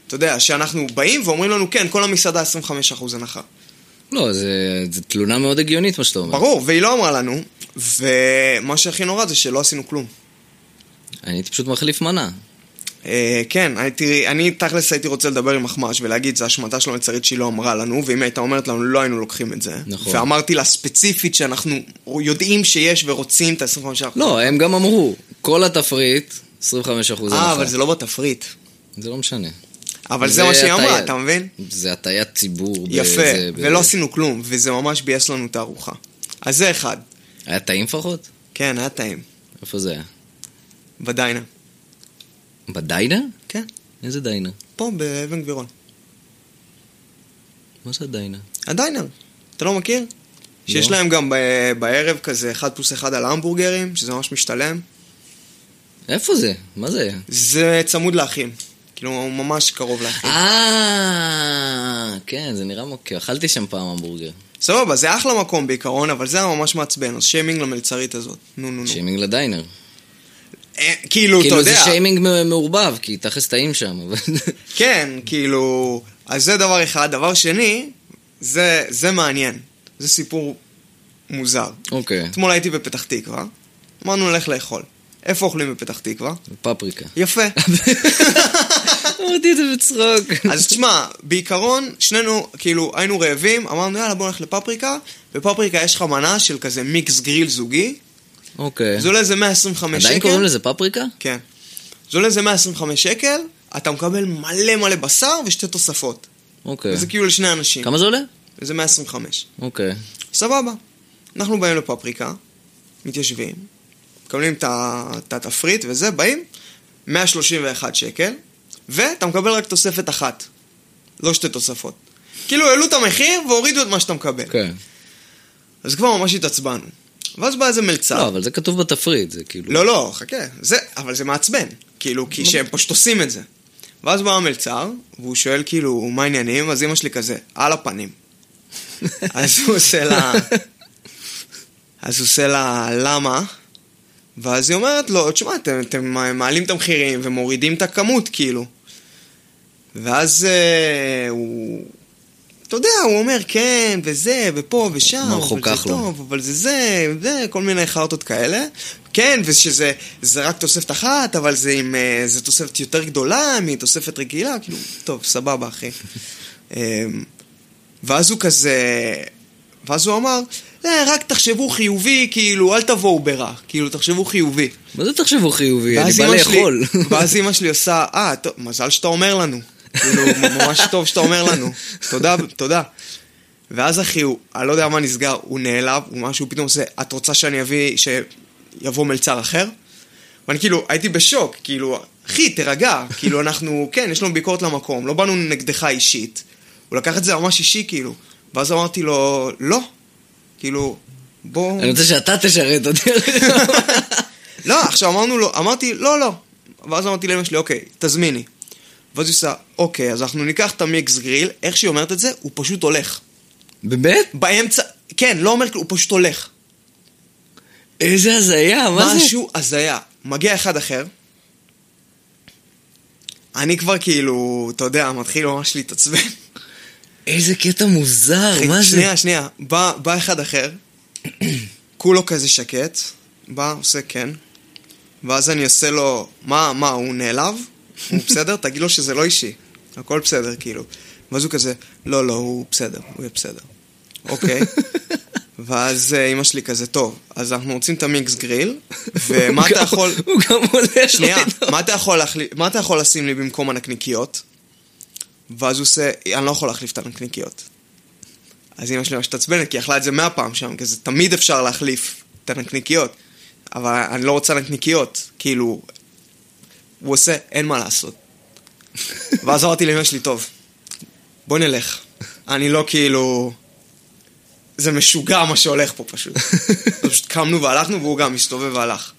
S2: אתה יודע, שאנחנו באים ואומרים לנו, כן, כל המסעדה 25% הנחה.
S1: לא, זה- זה תלונה מאוד הגיונית, מה שאתה אומר.
S2: ברור, והיא לא אמרה לנו, ומה שהכי נורא זה שלא עשינו כלום.
S1: אני הייתי פשוט מחליף מנה.
S2: אה, כן, אני- תראי, אני תכלס הייתי רוצה לדבר עם אחמ"ש ולהגיד, זו אשמתה של המלצרית שהיא לא אמרה לנו, ואם היא הייתה אומרת לנו, לא היינו לוקחים את זה.
S1: נכון.
S2: ואמרתי לה ספציפית שאנחנו יודעים שיש ורוצים את ה-25%.
S1: לא, הם גם אמרו, כל התפריט, 25%
S2: אה,
S1: הנחה.
S2: אבל זה לא בתפריט.
S1: זה לא משנה.
S2: אבל זה מה שהיא אמרה,
S1: הטעיה-
S2: אתה מבין?
S1: זה הטיית ציבור. ב-
S2: יפה,
S1: זה- ב-
S2: ולא עשינו כלום, וזה ממש ביאס לנו את הארוחה. אז זה אחד.
S1: היה טעים לפחות?
S2: כן, היה טעים.
S1: איפה זה היה?
S2: בדיינה.
S1: בדיינה?
S2: כן,
S1: איזה דיינה?
S2: פה, באבן גבירול.
S1: מה זה הדיינה?
S2: הדיינר, אתה לא מכיר? שיש להם גם ב- בערב כזה אחד פלוס אחד על המבורגרים, שזה ממש משתלם.
S1: איפה זה? מה זה?
S2: זה צמוד לאחים. כאילו, הוא ממש קרוב לאחים.
S1: אה, כן, זה נראה מוקר. אכלתי שם פעם המבורגר.
S2: סבבה, זה אחלה מקום בעיקרון, אבל זה היה ממש מעצבן, אז שיימינג למלצרית הזאת. נו, נו, נו.
S1: שיימינג לדיינר.
S2: אה, כאילו, אתה
S1: כאילו זה
S2: יודע.
S1: שיימינג מ- מעורבב, כי תכלס טעים שם, אבל...
S2: כן, כאילו... אז זה דבר אחד. דבר שני, זה, זה מעניין. זה סיפור מוזר.
S1: אוקיי,
S2: אתמול הייתי בפתח תקווה, אמרנו נלך לאכול. איפה אוכלים בפתח תקווה?
S1: פפריקה.
S2: יפה.
S1: אמרתי את זה בצחוק.
S2: אז תשמע, בעיקרון, שנינו, כאילו, היינו רעבים, אמרנו, יאללה, בוא נלך לפפריקה. בפפריקה יש לך מנה של כזה מיקס גריל זוגי,
S1: אוקיי.
S2: זה עולה איזה 125 שקל.
S1: עדיין קוראים לזה פפריקה?
S2: כן. זה עולה איזה 125 שקל, אתה מקבל מלא מלא בשר ושתי תוספות.
S1: אוקיי.
S2: זה כאילו לשני אנשים.
S1: כמה זה עולה?
S2: זה 125.
S1: אוקיי.
S2: סבבה. אנחנו באים לפפריקה, מתיישבים, מקבלים את ה- את התפריט וזה, באים, 131 שקל, ואתה מקבל רק תוספת אחת. לא שתי תוספות. כאילו העלו את המחיר והורידו את מה שאתה מקבל.
S1: כן.
S2: אז כבר ממש התעצבנו. ואז בא איזה מלצר.
S1: לא, אבל זה כתוב בתפריט, זה כאילו...
S2: לא, לא, חכה. זה, אבל זה מעצבן. כאילו, כי שהם פשוט עושים את זה. ואז בא המלצר, והוא שואל כאילו, מה העניינים? אז אמא שלי כזה, על הפנים. אז הוא עושה לה... אז הוא עושה לה, למה? ואז היא אומרת לו, תשמע, אתם, אתם מעלים את המחירים ומורידים את הכמות, כאילו. ואז אה, הוא... אתה יודע, הוא אומר, כן, וזה, ופה, ושם,
S1: מה, הוא
S2: אבל
S1: חוכך
S2: זה
S1: לו.
S2: טוב, אבל זה זה, זה, כל מיני חרטות כאלה. כן, ושזה זה רק תוספת אחת, אבל זה, עם, אה, זה תוספת יותר גדולה מתוספת רגילה, כאילו, טוב, סבבה, אחי. אמ, ואז הוא כזה... ואז הוא אמר, "אה, רק תחשבו חיובי, כאילו, אל תבואו ברע. כאילו, תחשבו חיובי.
S1: מה זה תחשבו חיובי? אה, אני
S2: ואז
S1: בא
S2: אמא שלי-
S1: לאכול.
S2: ואז אימא שלי עושה, אה, טוב, מזל שאתה אומר לנו. כאילו, ממש טוב שאתה אומר לנו. תודה, תודה. ואז אחי, הוא, אני לא יודע מה נסגר, הוא נעלב, הוא משהו, פתאום עושה, את רוצה שאני אביא, שיבוא מלצר אחר? ואני כאילו, הייתי בשוק, כאילו, אחי, תירגע, כאילו, אנחנו, כן, יש לנו ביקורת למקום, לא באנו נגדך אישית. הוא לקח את זה ממש אישי, כאילו. ואז אמרתי לו, לא. כאילו, בוא...
S1: אני רוצה שאתה תשרת אותי.
S2: לא, עכשיו אמרנו לו, אמרתי, לא, לא. ואז אמרתי לאמא שלי, אוקיי, תזמיני. ואז היא עושה, אוקיי, אז אנחנו ניקח את המיקס גריל, איך שהיא אומרת את זה, הוא פשוט הולך.
S1: באמת?
S2: באמצע, כן, לא אומר כלום, הוא פשוט הולך.
S1: איזה הזיה, מה זה?
S2: משהו הזיה. מגיע אחד אחר, אני כבר כאילו, אתה יודע, מתחיל ממש להתעצבן.
S1: איזה קטע מוזר,
S2: אחי,
S1: מה זה?
S2: שנייה, שנייה. בא, בא אחד אחר, כולו כזה שקט, בא, עושה כן, ואז אני עושה לו, מה, מה, הוא נעלב? הוא בסדר? תגיד לו שזה לא אישי. הכל בסדר, כאילו. ואז הוא כזה, לא, לא, הוא בסדר, הוא יהיה בסדר. אוקיי. ואז אה, אימא שלי כזה, טוב, אז אנחנו רוצים את המיקס גריל, ומה אה, אתה
S1: הוא גם-
S2: יכול...
S1: הוא גם הולך
S2: שנייה,
S1: איתו.
S2: מה אתה, יכול להחלי... מה אתה יכול לשים לי במקום הנקניקיות? ואז הוא עושה, אני לא יכול להחליף את הנקניקיות. אז אמא שלי ממש התעצבנת, כי היא אכלה את זה מאה פעם שם, כי זה תמיד אפשר להחליף את הנקניקיות. אבל אני לא רוצה נקניקיות, כאילו... הוא עושה, אין מה לעשות. ואז אמרתי לאמא שלי, טוב, בוא נלך. אני לא כאילו... זה משוגע מה שהולך פה פשוט. אז פשוט קמנו והלכנו והוא גם הסתובב והלך.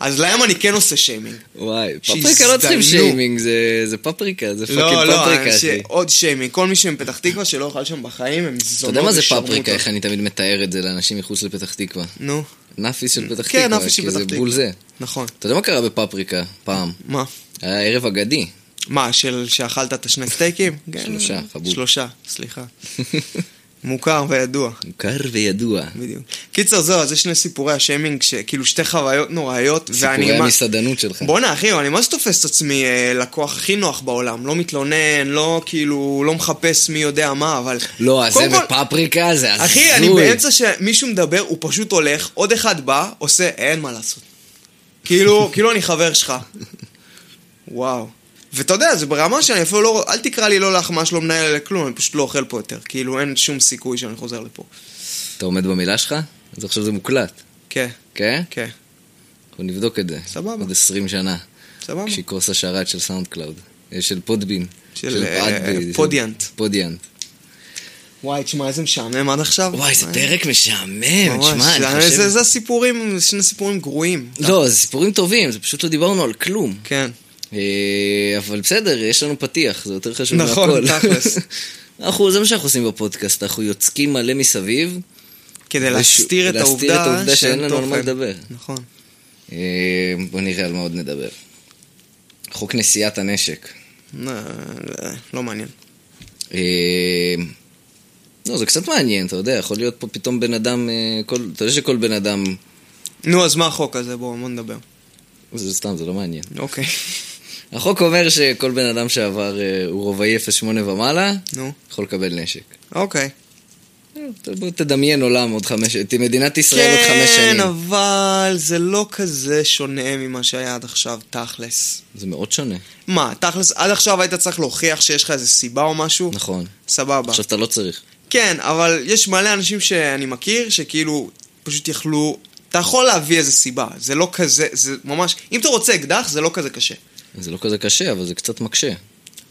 S2: אז להם אני כן עושה שיימינג.
S1: וואי, פפריקה
S2: שהזדיינו.
S1: לא צריכים שיימינג, זה- זה פפריקה, זה פאקינג
S2: לא, לא,
S1: פפריקה,
S2: אנשי-
S1: אחי.
S2: עוד שיימינג. כל מי שמפתח תקווה שלא אוכל שם בחיים, הם זונות
S1: אתה יודע מה זה
S2: ושרמוטות.
S1: פפריקה, איך אני תמיד מתאר את זה לאנשים מחוץ לפתח תקווה?
S2: נו,
S1: נאפיס של פתח
S2: כן,
S1: תקווה,
S2: נאפיס של
S1: כי
S2: פתח
S1: זה
S2: תקווה.
S1: בול זה.
S2: נכון.
S1: אתה יודע מה קרה בפפריקה פעם?
S2: מה?
S1: היה ערב אגדי.
S2: מה, של שאכלת את השני סטייקים? כן.
S1: שלושה, חבוב.
S2: שלושה, סליחה. מוכר וידוע.
S1: מוכר וידוע.
S2: בדיוק. קיצר, זהו, אז זה שני סיפורי השיימינג, ש- כאילו שתי חוויות נוראיות, ואני...
S1: סיפורי
S2: מה-
S1: המסעדנות שלך.
S2: בואנה, אחי, אני מה זה תופס את עצמי אה, לקוח הכי נוח בעולם? לא מתלונן, לא כאילו, לא מחפש מי יודע מה, אבל...
S1: לא, אז זה
S2: קודם כל-
S1: בפפריקה, זה הזוי.
S2: אחי, אני באמצע שמישהו מדבר, הוא פשוט הולך, עוד אחד בא, עושה, אין מה לעשות. כאילו, כאילו אני חבר שלך. וואו. ואתה יודע, זה ברמה שאני אפילו לא... אל תקרא לי לא לאחמש, לא מנהל לכלום, אני פשוט לא אוכל פה יותר. כאילו, אין שום סיכוי שאני חוזר לפה.
S1: אתה עומד במילה שלך? אז עכשיו זה מוקלט,
S2: כן,
S1: כן?
S2: כן,
S1: אנחנו נבדוק את זה.
S2: סבבה.
S1: עוד 20 שנה.
S2: סבבה.
S1: כשיקרוס השרת של סאונד קלאוד. אה, של פודבין.
S2: של, אה,
S1: פודבי. של
S2: פודיאנט.
S1: פודיאנט.
S2: וואי, תשמע, איזה משעמם עד עכשיו. אה,
S1: וואי, זה פרק משעמם,
S2: ממש,
S1: תשמע, אני
S2: זה- זה-
S1: חושב...
S2: זה הסיפורים, זה שני סיפורים גרועים.
S1: לא, זה סיפורים טובים, זה פשוט לא דיברנו על כלום.
S2: כן.
S1: אה, אבל בסדר, יש לנו פתיח, זה יותר חשוב מהכל.
S2: נכון, תכלס.
S1: אנחנו, זה מה שאנחנו עושים בפודקאסט, אנחנו יוצקים מלא מסביב.
S2: כדי
S1: ושו-
S2: להסתיר את
S1: להסתיר את העובדה
S2: העובדה
S1: שאין לנו על מה
S2: תוכן.
S1: לדבר.
S2: נכון.
S1: אה, בוא נראה על מה עוד נדבר. חוק נשיאת הנשק.
S2: לא, לא מעניין.
S1: אה, לא, זה קצת מעניין, אתה יודע, יכול להיות פה פתאום בן אדם, אה, כל- אתה יודע שכל בן אדם,
S2: נו, אז מה החוק הזה? בואו, בואו נדבר.
S1: זה סתם, זה לא מעניין.
S2: אוקיי.
S1: החוק אומר שכל בן אדם שעבר, אה, הוא רובעי 0.8 ומעלה,
S2: נו,
S1: יכול לקבל נשק.
S2: אוקיי.
S1: אה, ת- בוא תדמיין עולם עוד חמש, את מדינת ישראל עוד חמש
S2: כן,
S1: שנים.
S2: אבל זה לא כזה שונה ממה שהיה עד עכשיו, תכלס.
S1: זה מאוד שונה,
S2: מה, תכלס, עד עכשיו היית צריך להוכיח שיש לך איזה סיבה או משהו?
S1: נכון.
S2: סבבה.
S1: עכשיו אתה לא צריך.
S2: כן, אבל יש מלא אנשים שאני מכיר, שכאילו, פשוט יכלו... אתה יכול להביא איזה סיבה, זה לא כזה, זה ממש... אם אתה רוצה אקדח, זה לא כזה קשה.
S1: זה לא כזה קשה, אבל זה קצת מקשה.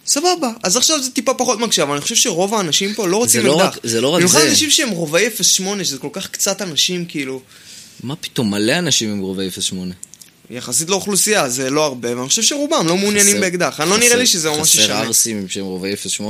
S2: סבבה, אז עכשיו זה טיפה פחות מקשה, אבל אני חושב שרוב האנשים פה לא רוצים
S1: לא
S2: אקדח.
S1: רק- זה לא רק
S2: במיוחד
S1: זה.
S2: אנשים שהם רובעי 0.8, שזה כל כך קצת אנשים, כאילו,
S1: מה פתאום, מלא אנשים עם רובעי 0.8.
S2: יחסית לאוכלוסייה, זה לא הרבה, ואני חושב שרובם לא מעוניינים
S1: חסר-
S2: באקדח. אני לא נראה
S1: חסר-
S2: לי שזה ממש
S1: חסר
S2: ישנה.
S1: ערסים שהם רובעי 0.8?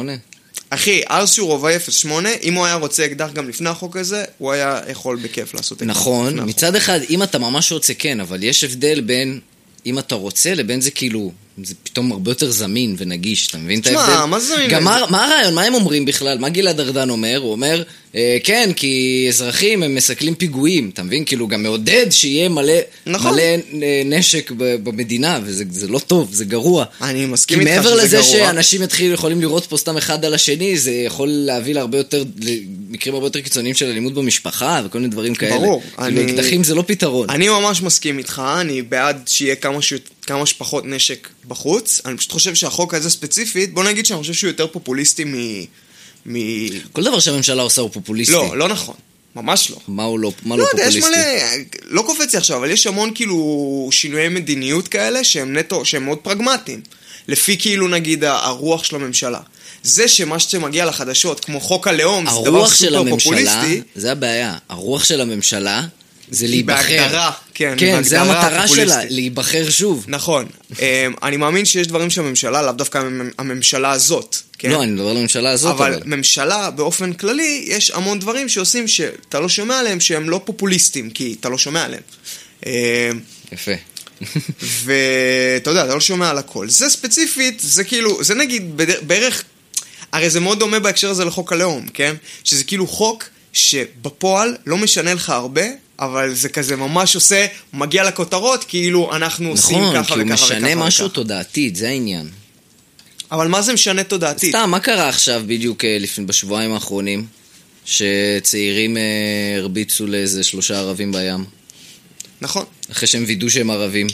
S2: אחי, ארס שהוא רובעי 0.8, אם הוא היה רוצה אקדח גם לפני החוק הזה, הוא היה יכול בכיף לעשות אקדח. לפני
S1: נכון,
S2: החוק.
S1: מצד אחד, אם אתה ממש רוצה, כן, אבל יש הבדל בין אם אתה רוצה לבין זה כאילו, זה פתאום הרבה יותר זמין ונגיש, אתה מבין את
S2: תשמע,
S1: ההבדל?
S2: מה זה זמין?
S1: גם מה מה הרעיון, מה הם אומרים בכלל? מה גלעד ארדן אומר? הוא אומר, אה, כן, כי אזרחים הם מסכלים פיגועים, אתה מבין? כאילו, גם מעודד שיהיה מלא
S2: נכון.
S1: מלא, אה, נשק ב- במדינה, וזה זה לא טוב, זה גרוע.
S2: אני
S1: כי
S2: מסכים איתך שזה
S1: מעבר
S2: גרוע.
S1: לזה שאנשים יתחילו, יכולים לראות פה סתם אחד על השני, זה יכול להביא להרבה יותר, למקרים הרבה יותר קיצוניים של אלימות במשפחה וכל מיני דברים כאלה.
S2: ברור,
S1: כאילו,
S2: אני-
S1: אקדחים זה לא פתרון.
S2: אני ממש מסכים איתך, אני בעד שיהיה כמה, ש... כמה שפחות נשק בחוץ. אני פשוט חושב שהחוק הזה ספציפית, בוא נגיד שאני חושב שהוא יותר פופוליסטי מ... מ...
S1: כל דבר שהממשלה עושה הוא פופוליסטי.
S2: לא, לא נכון. ממש לא.
S1: מה הוא לא, מה
S2: לא
S1: לא
S2: יודע, יש
S1: פופוליסטי?
S2: מלא, לא קופץ לי עכשיו, אבל יש המון כאילו שינויי מדיניות כאלה שהם נטו, שהם מאוד פרגמטיים. לפי כאילו נגיד ה- הרוח של הממשלה. זה שמה שמגיע לחדשות, כמו חוק הלאום, זה דבר
S1: הרוח של
S2: סופר
S1: הממשלה,
S2: פופוליסטי.
S1: זה הבעיה. הרוח של הממשלה זה
S2: היא
S1: להיבחר.
S2: בהגדרה, כן,
S1: כן, זה
S2: בהגדרה
S1: המטרה שלה,
S2: פופוליסטית.
S1: להיבחר שוב.
S2: נכון. אמ, אני מאמין שיש דברים שהממשלה, לאו דווקא המ- הממשלה הזאת. כן?
S1: לא, אני מדבר על הממשלה הזאת,
S2: אבל,
S1: אבל...
S2: אבל ממשלה באופן כללי, יש המון דברים שעושים שאתה לא שומע עליהם שהם לא פופוליסטים, כי אתה לא שומע עליהם. אמ,
S1: יפה.
S2: ואתה יודע, אתה לא שומע על הכל. זה ספציפית, זה כאילו, זה נגיד בד- בערך, הרי זה מאוד דומה בהקשר הזה לחוק הלאום, כן? שזה כאילו חוק שבפועל לא משנה לך הרבה, אבל זה כזה ממש עושה, מגיע לכותרות, כאילו אנחנו עושים
S1: נכון,
S2: ככה
S1: כי הוא
S2: וככה וככה
S1: משנה
S2: וככה.
S1: משהו תודעתית, זה העניין.
S2: אבל מה זה משנה תודעתית?
S1: סתם, מה קרה עכשיו בדיוק אה, לפני- בשבועיים האחרונים? שצעירים אה, הרביצו לאיזה שלושה ערבים בים,
S2: נכון.
S1: אחרי שהם וידאו שהם ערבים.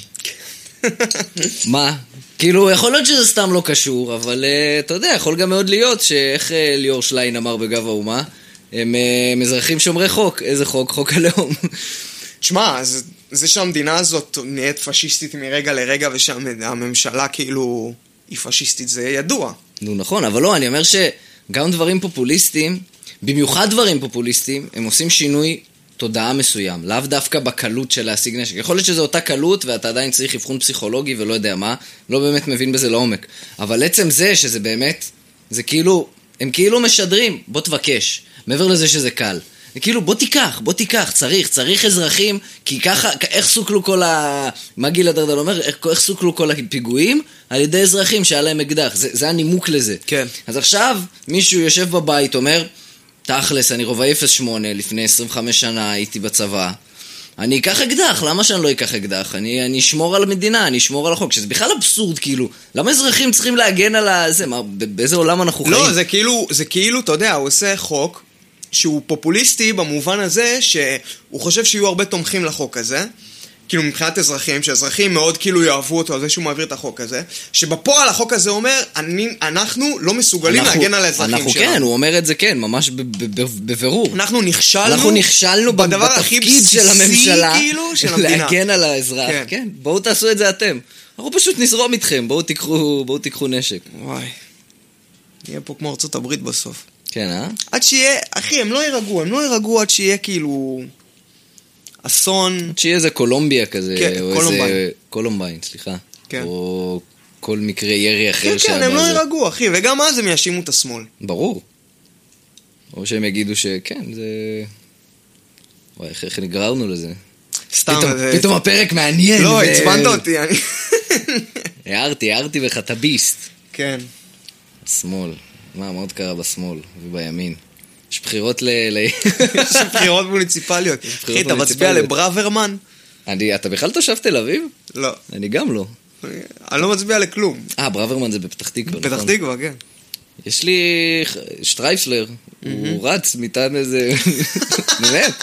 S1: מה? כאילו, יכול להיות שזה סתם לא קשור, אבל אה, אתה יודע, יכול גם מאוד להיות שאיך אה, ליאור שליין אמר בגב האומה, הם אה, הם אזרחים שומרי חוק. איזה חוק? חוק הלאום.
S2: תשמע, זה, זה שהמדינה הזאת נהיית פשיסטית מרגע לרגע ושהממשלה כאילו היא פשיסטית זה ידוע.
S1: נו, נכון, אבל לא, אני אומר שגם דברים פופוליסטיים, במיוחד דברים פופוליסטיים, הם עושים שינוי תודעה מסוים, לאו דווקא בקלות של להשיג נשק. יכול להיות שזו אותה קלות ואתה עדיין צריך אבחון פסיכולוגי ולא יודע מה, לא באמת מבין בזה לעומק. אבל עצם זה שזה באמת, זה כאילו, הם כאילו משדרים, בוא תבקש, מעבר לזה שזה קל. זה כאילו, בוא תיקח, בוא תיקח, צריך, צריך אזרחים, כי ככה, כ- איך סוכלו כל ה... מה גלעד ארדן אומר? איך, איך סוכלו כל הפיגועים? על ידי אזרחים שהיה להם אקדח, זה, זה הנימוק לזה.
S2: כן.
S1: אז עכשיו מישהו יושב בבית, אומר, תכלס, אני רובעי 08, לפני 25 שנה הייתי בצבא. אני אקח אקדח, למה שאני לא אקח אקדח? אני, אני אשמור על המדינה, אני אשמור על החוק, שזה בכלל אבסורד, כאילו. למה אזרחים צריכים להגן על ה... זה, מה, ב- באיזה עולם אנחנו חיים?
S2: לא, זה כאילו, זה כאילו, אתה יודע, הוא עושה חוק שהוא פופוליסטי במובן הזה שהוא חושב שיהיו הרבה תומכים לחוק הזה. כאילו מבחינת אזרחים, שאזרחים מאוד כאילו יאהבו אותו על זה שהוא מעביר את החוק הזה, שבפועל החוק הזה אומר, אני, אנחנו לא מסוגלים
S1: אנחנו-
S2: להגן על האזרחים
S1: אנחנו
S2: שלנו.
S1: כן, הוא אומר את זה כן, ממש ב- ב- ב- בבירור.
S2: אנחנו נכשלנו,
S1: אנחנו נכשלנו ב-
S2: בדבר הכי
S1: בתפקיד
S2: בסיסי
S1: של הממשלה,
S2: כאילו, של המדינה.
S1: להגן על האזרח.
S2: כן.
S1: כן, בואו תעשו את זה אתם. אנחנו פשוט נזרום איתכם, בואו תיקחו בואו תיקחו נשק.
S2: וואי, נהיה פה כמו ארצות הברית בסוף.
S1: כן, אה?
S2: עד שיהיה, אחי, הם לא יירגעו, הם לא יירגעו עד שיהיה כאילו אסון.
S1: שיהיה איזה קולומביה כזה,
S2: כן,
S1: או
S2: קולומביין.
S1: איזה... קולומביין, סליחה.
S2: כן.
S1: או כל מקרה ירי אחר
S2: כן, כן,
S1: שהיה
S2: הם לא
S1: בזה.
S2: יירגעו, אחי, וגם אז הם יאשימו את השמאל.
S1: ברור. או שהם יגידו שכן, זה... וואי, איך- איך נגררנו לזה?
S2: סתם,
S1: פתאום-
S2: זה-
S1: פתאום הפרק מעניין.
S2: אה, לא,
S1: ו-
S2: עצבנת אותי, אני...
S1: הערתי, הערתי בך, אתה ביסט.
S2: כן.
S1: שמאל. מה, מה עוד קרה בשמאל ובימין? יש בחירות ל... ל...
S2: יש בחירות מוניציפליות. אחי, אתה מצביע
S1: מוניציפליות.
S2: לברוורמן?
S1: אני, אתה בכלל תושב תל אביב?
S2: לא.
S1: אני גם לא.
S2: אני לא מצביע לכלום.
S1: אה, ברוורמן זה בפתח תקווה,
S2: פתח
S1: נכון?
S2: תקווה, כן.
S1: יש לי ח- שטרייפלר, הוא רץ מטען איזה... באמת?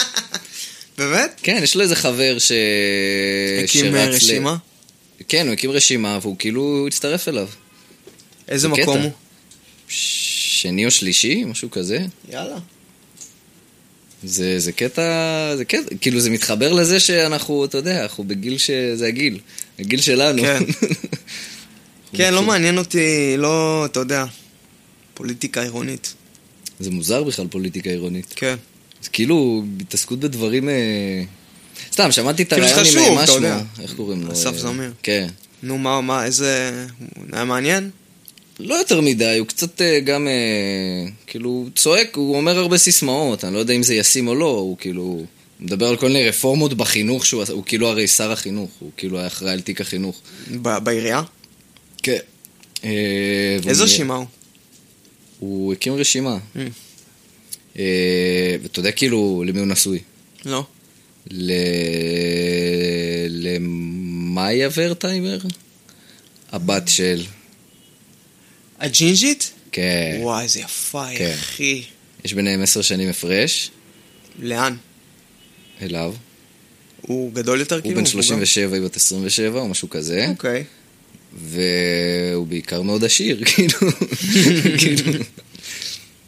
S2: באמת?
S1: כן, יש לו איזה חבר ש...
S2: הקים
S1: אה,
S2: אה,
S1: שרץ ל-
S2: רשימה?
S1: כן, הוא הקים רשימה, והוא כאילו הצטרף אליו.
S2: איזה
S1: זה קטע.
S2: מקום הוא?
S1: שני או שלישי, משהו כזה.
S2: יאללה.
S1: זה, זה קטע, זה קטע, כאילו זה מתחבר לזה שאנחנו, אתה יודע, אנחנו בגיל ש... זה הגיל, הגיל שלנו.
S2: כן. כן, לא מעניין אותי, לא, אתה יודע, פוליטיקה עירונית.
S1: זה מוזר בכלל פוליטיקה עירונית.
S2: כן.
S1: זה כאילו התעסקות בדברים... אה, סתם, שמעתי את
S2: כאילו זה
S1: הרעיון עם
S2: חשוב,
S1: אה, מה
S2: אתה
S1: שמו,
S2: יודע.
S1: איך קוראים לו?
S2: אסף
S1: אה,
S2: זמיר.
S1: כן.
S2: נו, מה, מה, איזה... היה מעניין?
S1: לא יותר מדי, הוא קצת אה, גם, אה, כאילו, הוא צועק, הוא אומר הרבה סיסמאות, אני לא יודע אם זה ישים או לא, הוא כאילו, הוא מדבר על כל מיני רפורמות בחינוך שהוא עשה, הוא כאילו הרי שר החינוך, הוא כאילו היה אחראי על תיק החינוך.
S2: ב- בעירייה?
S1: כן.
S2: איזה רשימה הוא?
S1: אה, הוא הקים רשימה.
S2: Mm.
S1: אה, ואתה יודע כאילו למי הוא נשוי?
S2: לא.
S1: ל... למאיה ורטהיימר? הבת של...
S2: הג'ינג'ית?
S1: כן.
S2: וואי, איזה יפה, היא,
S1: כן.
S2: אחי.
S1: יש ביניהם עשר שנים הפרש
S2: לאן?
S1: אליו.
S2: הוא גדול יותר
S1: הוא
S2: כאילו?
S1: בן
S2: מבוגר?
S1: 37, היא בת 27 או משהו כזה,
S2: אוקיי.
S1: והוא בעיקר מאוד עשיר, כאילו. כאילו.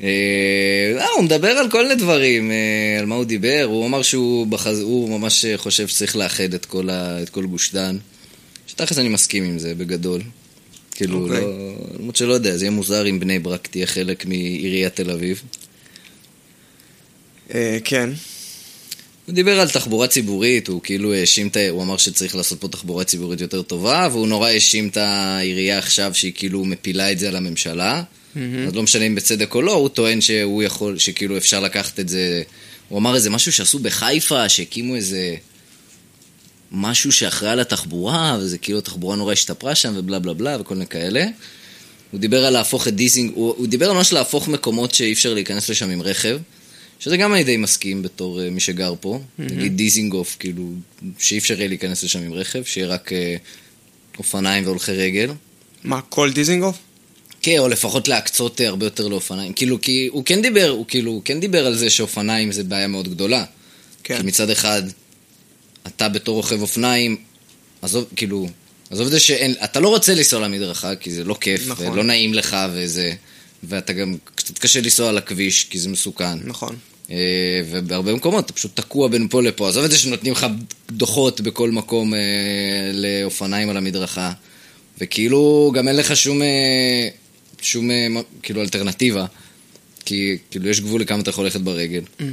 S1: אה, לא, הוא מדבר על כל מיני דברים, אה, על מה הוא דיבר, הוא אמר שהוא בחז... הוא ממש אה, חושב שצריך לאחד את כל, ה... את כל גוש דן, שתכלס אני מסכים עם זה, בגדול. כאילו,
S2: אוקיי.
S1: לא... למרות שלא יודע, זה יהיה מוזר אם בני ברק תהיה חלק מעיריית תל אביב.
S2: אה, כן.
S1: הוא דיבר על תחבורה ציבורית, הוא כאילו האשים את ה... הוא אמר שצריך לעשות פה תחבורה ציבורית יותר טובה, והוא נורא האשים את העירייה עכשיו שהיא כאילו מפילה את זה על הממשלה. אז לא משנה אם בצדק או לא, הוא טוען שהוא יכול, שכאילו אפשר לקחת את זה... הוא אמר איזה משהו שעשו בחיפה, שהקימו איזה... משהו שאחראי על התחבורה, וזה כאילו התחבורה נורא השתפרה שם, ובלה בלה בלה, וכל מיני כאלה. הוא דיבר על להפוך את דיזינג, הוא, הוא דיבר על ממש להפוך מקומות שאי אפשר להיכנס לשם עם רכב, שזה גם אני די מסכים בתור uh, מי שגר פה. Mm-hmm. נגיד דיזינגוף, כאילו, שאי אפשר יהיה להיכנס לשם עם רכב, שיהיה רק uh, אופניים והולכי רגל.
S2: מה, כל דיזינגוף?
S1: כן, או לפחות להקצות אה, הרבה יותר לאופניים. כאילו, כי הוא כן דיבר, הוא כאילו, הוא כן דיבר על זה שאופניים זה בעיה מאוד גדולה.
S2: כן.
S1: כי מצד אחד, אתה בתור רוכב אופניים, עזוב, כאילו, עזוב את זה שאין, אתה לא רוצה לנסוע למדרכה, כי זה לא כיף,
S2: נכון.
S1: נכון. ולא נעים לך, וזה, ואתה גם קצת קשה לנסוע על הכביש, כי זה מסוכן.
S2: נכון.
S1: אה, ובהרבה מקומות אתה פשוט תקוע בין פה לפה. עזוב את זה שנותנים לך דוחות בכל מקום אה, לאופניים על המדרכה, וכאילו גם אין לך שום, אה, שום אה, מה- כאילו אלטרנטיבה, כי כאילו יש גבול לכמה אתה יכול ללכת ברגל.
S2: Mm-hmm.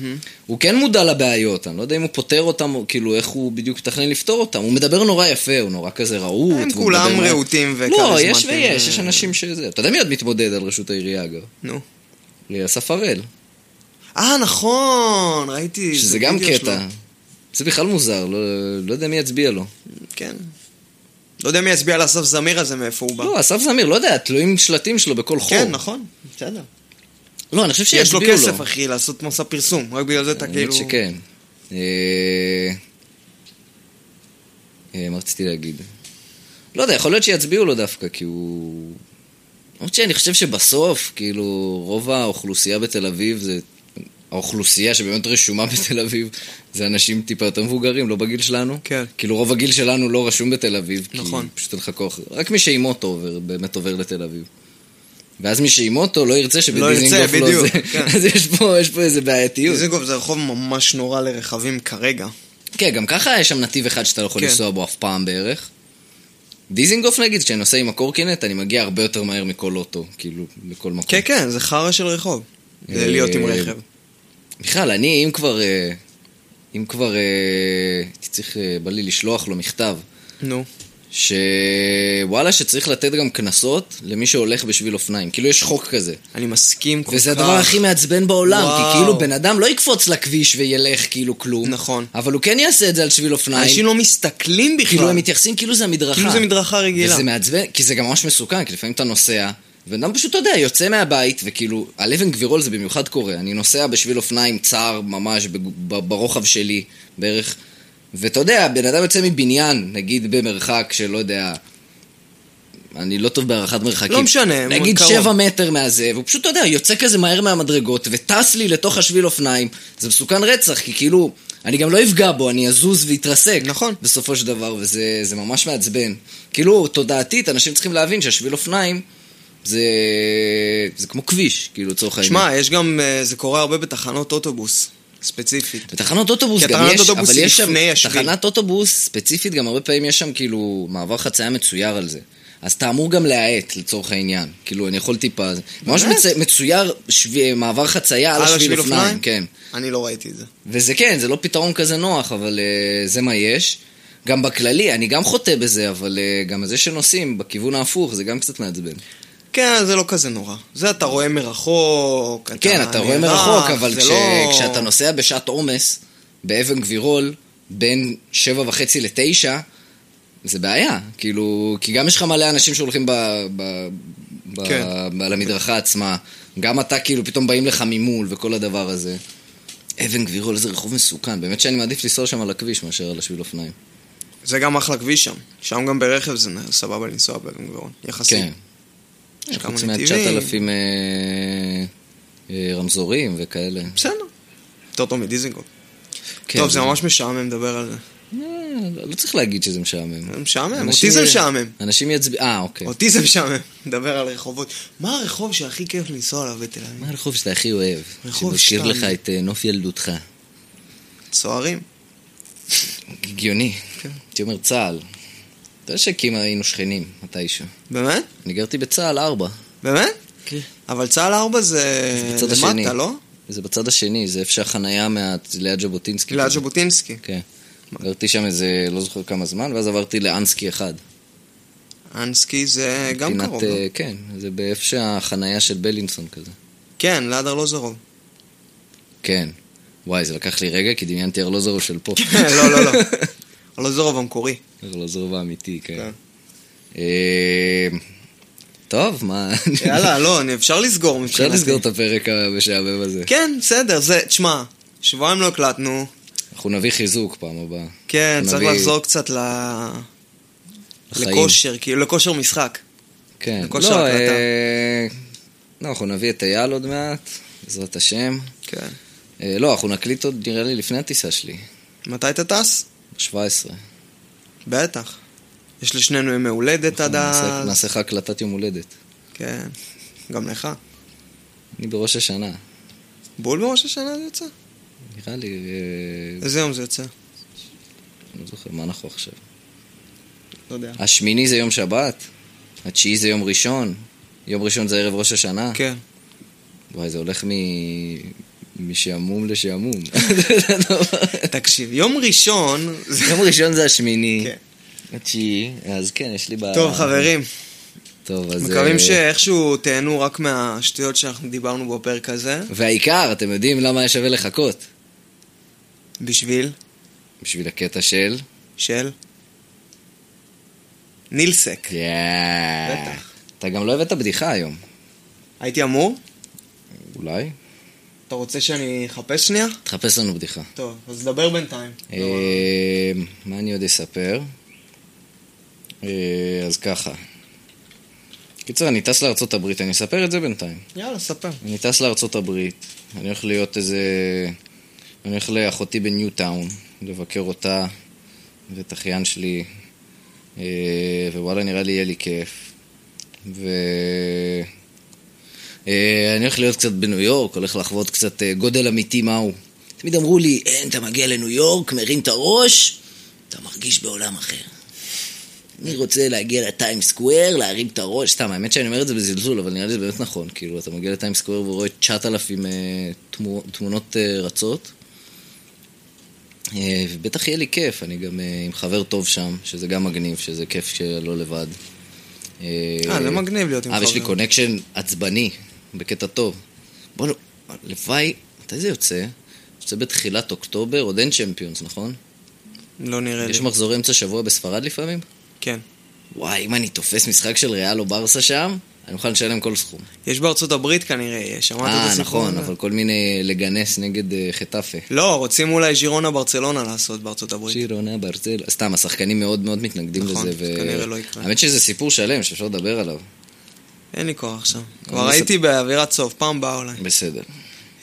S1: הוא כן מודע לבעיות, אני לא יודע אם הוא פותר אותם, או כאילו איך הוא בדיוק מתכנן לפתור אותם. הוא מדבר נורא יפה, הוא נורא כזה רהוט.
S2: הם
S1: והוא
S2: כולם
S1: מדבר נורא-
S2: רהוטים
S1: לא,
S2: וכריזמטיים.
S1: יש ויש, יש אנשים שזה. אתה יודע מי עוד מתמודד על ראשות העירייה אגב?
S2: אה, נו.
S1: אסף הראל.
S2: אה, נכון, ראיתי.
S1: שזה
S2: זה
S1: גם
S2: וידאו
S1: קטע. זה בכלל מוזר, לא, לא יודע מי יצביע לו.
S2: שלו. כן. לא יודע מי יצביע על אסף זמיר הזה, מאיפה הוא בא.
S1: לא, אסף זמיר, לא יודע, תלויים שלטים שלו בכל חור.
S2: כן, נכון. בסדר.
S1: לא, אני חושב
S2: יש
S1: שיצביעו
S2: לו
S1: לו.
S2: כסף, אחי, לעשות מסע פרסום. רק בגלל זה אתה
S1: האמת
S2: כאילו...
S1: שכן. אה, אה, מה רציתי להגיד? לא יודע, יכול להיות שיצביעו לו דווקא, כי הוא... למרות שאני חושב שבסוף, כאילו, רוב האוכלוסייה בתל אביב זה... האוכלוסייה שבאמת רשומה בתל אביב זה אנשים טיפה יותר מבוגרים, לא בגיל שלנו.
S2: כן.
S1: כאילו רוב הגיל שלנו לא רשום בתל אביב,
S2: נכון.
S1: כי פשוט אין לך כוח. רק מי שאימוטו עובר, באמת עובר לתל אביב. ואז מי שאימוטו לא ירצה שבדיזינגוף
S2: ירצה,
S1: לא,
S2: בדיוק,
S1: זה.
S2: כן.
S1: אז יש פה, יש פה איזה בעייתיות.
S2: דיזינגוף זה רחוב ממש נורא לרכבים כרגע.
S1: כן, גם ככה יש שם נתיב אחד שאתה לא יכול
S2: כן.
S1: לנסוע בו אף פעם בערך. דיזינגוף נגיד, כשאני נוסע עם הקורקינט, אני מגיע הרבה יותר מהר מכל אוטו, כאילו, לכל מקום.
S2: כן, כן, זה חרא של רחוב. זה להיות עם
S1: אה,
S2: רכב.
S1: בכלל, אני, אם כבר... אה, אם כבר... אה, הייתי צריך... אה, בא לי לשלוח לו מכתב,
S2: נו.
S1: שוואלה, שצריך לתת גם קנסות למי שהולך בשביל אופניים. כאילו, יש חוק כזה.
S2: אני מסכים כל כך.
S1: וזה הדבר הכי מעצבן בעולם,
S2: וואו.
S1: כי כאילו בן אדם לא יקפוץ לכביש וילך כאילו כלום.
S2: נכון.
S1: אבל הוא כן יעשה את זה על שביל אופניים.
S2: אנשים לא מסתכלים בכלל.
S1: כאילו הם מתייחסים כאילו זה המדרכה.
S2: כאילו זה מדרכה רגילה.
S1: וזה מעצבן, כי זה גם ממש מסוכן, כי לפעמים אתה נוסע, ובן אדם פשוט, אתה יודע, יוצא מהבית, וכאילו, על אבן גבירול זה במיוחד קורה. אני נוסע בשביל אופניים צר ממש בג- ב- ברוחב שלי בערך, ואתה יודע, בן אדם יוצא מבניין, נגיד במרחק של, לא יודע, אני לא טוב בהערכת מרחקים.
S2: לא משנה,
S1: נגיד
S2: קרוב.
S1: שבע מטר מהזה, והוא פשוט, אתה יודע, יוצא כזה מהר מהמדרגות, וטס לי לתוך השביל אופניים, זה מסוכן רצח, כי כאילו, אני גם לא אפגע בו, אני אזוז ואתרסק.
S2: נכון.
S1: בסופו של דבר, וזה זה ממש מעצבן. כאילו, תודעתית, אנשים צריכים להבין שהשביל אופניים זה, זה כמו כביש, כאילו, לצורך העניין.
S2: שמע, יש גם, אה, זה קורה הרבה בתחנות אוטובוס, ספציפית.
S1: בתחנות אוטובוס
S2: כי
S1: גם
S2: התחנת
S1: יש,
S2: אוטובוס
S1: אבל
S2: היא
S1: יש שם,
S2: לפני השביל.
S1: תחנת אוטובוס ספציפית, גם הרבה פעמים יש שם כאילו מעבר חצייה מצויר על זה. אז אתה אמור גם להאט לצורך העניין. כאילו, אני יכול טיפה... ממש
S2: באמת?
S1: מצ... מצויר שב... מעבר חצייה על, השביל אופניים, כן.
S2: אני לא ראיתי את זה.
S1: וזה כן, זה לא פתרון כזה נוח, אבל uh, זה מה יש. גם בכללי, אני גם חוטא בזה, אבל uh, גם זה שנוסעים בכיוון ההפוך, זה גם קצת מעצבן.
S2: כן, זה לא כזה נורא. זה אתה רואה מרחוק, אתה
S1: כן, אתה רואה
S2: נערך,
S1: מרחוק, אבל
S2: אה, זה
S1: כש...
S2: לא-
S1: כשאתה נוסע בשעת עומס, באבן גבירול, בין שבע וחצי לתשע, זה בעיה. כאילו, כי גם יש לך מלא אנשים שהולכים ב... ב... ב...
S2: כן.
S1: ב... על המדרכה עצמה. גם אתה, כאילו, פתאום באים לך ממול וכל הדבר הזה. אבן גבירול, איזה רחוב מסוכן. באמת שאני מעדיף לנסוע שם על הכביש מאשר על השביל אופניים.
S2: זה גם אחלה כביש שם. שם גם ברכב זה נ- סבבה לנסוע באבן גבירון, יחסית.
S1: כן.
S2: יש כמה
S1: חוץ מה-9,000
S2: נתיבים.
S1: אה, רמזורים וכאלה.
S2: בסדר. יותר טוב מדיזינגוף.
S1: כן,
S2: טוב, זה כן. ממש משעמם לדבר על זה.
S1: אה, לא צריך להגיד שזה משעמם.
S2: זה משעמם,
S1: אנשים-
S2: אותי זה משעמם.
S1: אנשים יצביעו, אה, אוקיי.
S2: אותי זה משעמם, כן. מדבר על רחובות. מה הרחוב שהכי כיף לנסוע עליו בתל אביב?
S1: מה הרחוב שאתה הכי אוהב?
S2: רחוב
S1: שמזכיר
S2: שתיים.
S1: לך את אה, נוף ילדותך.
S2: סוהרים.
S1: הגיוני. כן. הייתי אומר צה"ל. אתה יודע שכמעט היינו שכנים מתישהו.
S2: באמת?
S1: אני גרתי בצה"ל ארבע.
S2: באמת?
S1: כן.
S2: אבל צהל 4 זה
S1: זה בצד השני. כן,
S2: למטה, לא?
S1: זה בצד השני, זה איפה שהחנייה מה- ליד ז'בוטינסקי.
S2: ליד ז'בוטינסקי.
S1: כן. גרתי שם איזה, לא זוכר כמה זמן, ואז עברתי לאנסקי אחד.
S2: אנסקי זה גם
S1: פינת,
S2: קרוב.
S1: אה,
S2: לא?
S1: כן, זה באיפה שהחנייה של בלינסון כזה.
S2: כן, ליד ארלוזרוב.
S1: כן. וואי, זה לקח לי רגע, כי דמיינתי ארלוזורוב של פה.
S2: לא, לא, לא. ארלוזרוב המקורי.
S1: ארלוזורוב האמיתי, כן.
S2: כן.
S1: אה, טוב, מה...
S2: יאללה, לא, אני- אפשר לסגור
S1: אפשר
S2: מבחינתי.
S1: לסגור את הפרק המשעמם הזה.
S2: כן, בסדר, זה, תשמע, שבועיים לא הקלטנו.
S1: אנחנו נביא חיזוק פעם הבאה.
S2: כן, צריך
S1: נביא-
S2: לחזור קצת ל...
S1: לחיים.
S2: לכושר, כאילו, לכושר משחק.
S1: כן.
S2: לכל שאר
S1: לא,
S2: ההקלטה.
S1: אה, לא, אנחנו נביא את אייל עוד מעט, בעזרת השם.
S2: כן.
S1: אה, לא, אנחנו נקליט עוד, נראה לי, לפני הטיסה שלי,
S2: מתי אתה טס?
S1: ב-17.
S2: בטח. יש לשנינו ימי הולדת עד אז.
S1: נעשה לך הקלטת יום הולדת.
S2: כן. גם לך.
S1: אני בראש השנה.
S2: בול בראש השנה זה יוצא?
S1: נראה לי, אה,
S2: איזה יום זה יוצא?
S1: לא זוכר, מה אנחנו עכשיו?
S2: לא יודע.
S1: השמיני זה יום שבת, התשיעי זה יום ראשון, יום ראשון זה ערב ראש השנה.
S2: כן.
S1: וואי, זה הולך מ... משעמום לשעמום.
S2: כן. תקשיב, יום ראשון... זה-
S1: יום ראשון זה השמיני,
S2: כן.
S1: התשיעי, אז כן, יש לי ב...
S2: טוב, חברים,
S1: טוב, אז...
S2: מקווים
S1: אה,
S2: שאיכשהו תהנו רק מהשטויות שאנחנו דיברנו בפרק הזה.
S1: והעיקר, אתם יודעים למה היה שווה לחכות?
S2: בשביל
S1: בשביל הקטע של...
S2: של נילסק.
S1: יאה.
S2: בטח.
S1: אתה גם לא הבאת בדיחה היום,
S2: הייתי אמור?
S1: אולי?
S2: אתה רוצה שאני אחפש שנייה?
S1: תחפש לנו בדיחה.
S2: טוב, אז דבר בינתיים.
S1: אה, מה אני עוד אספר? אה, אז ככה. קיצר, אני טס לארצות הברית, אני אספר את זה בינתיים.
S2: יאללה, ספר.
S1: אני טס לארצות הברית, אני הולך להיות איזה... אני הולך לאחותי בניוטאון, לבקר אותה ואת אחיין שלי, אה, ווואלה, נראה לי יהיה לי כיף. ו... אה, אני הולך להיות קצת בניו יורק, הולך לחוות קצת אה, גודל אמיתי מהו. תמיד אמרו לי, אין, אתה מגיע לניו יורק, מרים את הראש, אתה מרגיש בעולם אחר. אני רוצה להגיע לטיים סקוואר, להרים את הראש, סתם, האמת שאני אומר את זה בזלזול, אבל נראה לי זה באמת נכון. כאילו, אתה מגיע לטיים סקוואר ורואה 9,000 אה, תמו- תמונות אה, רצות. אה, ובטח יהיה לי כיף, אני גם אה, עם חבר טוב שם, שזה גם מגניב, שזה כיף שלא לבד.
S2: אה, זה מגניב להיות עם
S1: אה, ויש לי
S2: חבר.
S1: קונקשן עצבני, בקטע טוב. בוא, נו, לוואי, מתי זה יוצא? יוצא בתחילת אוקטובר, עוד אין צ'מפיונס, נכון?
S2: לא נראה לי.
S1: יש מחזורי אמצע שבוע בספרד לפעמים?
S2: כן.
S1: וואי, אם אני תופס משחק של ריאל או ברסה שם, אני מוכן לשלם כל סכום.
S2: יש בארצות הברית כנראה, יש. שמעת את
S1: אה,
S2: הסיפור
S1: נכון,
S2: הזה?
S1: אבל כל מיני לגנס נגד אה, חטאפה.
S2: לא, רוצים אולי ז'ירונה ברצלונה לעשות בארצות הברית.
S1: שירונה ברצל, סתם, השחקנים מאוד מאוד מתנגדים
S2: נכון,
S1: לזה. ו-
S2: כנראה לא יקרה.
S1: האמת שזה סיפור שלם שאפשר לדבר עליו.
S2: אין לי כוח עכשיו.
S1: אני לא
S2: כבר הייתי באווירת סוף, פעם באה אולי.
S1: בסדר.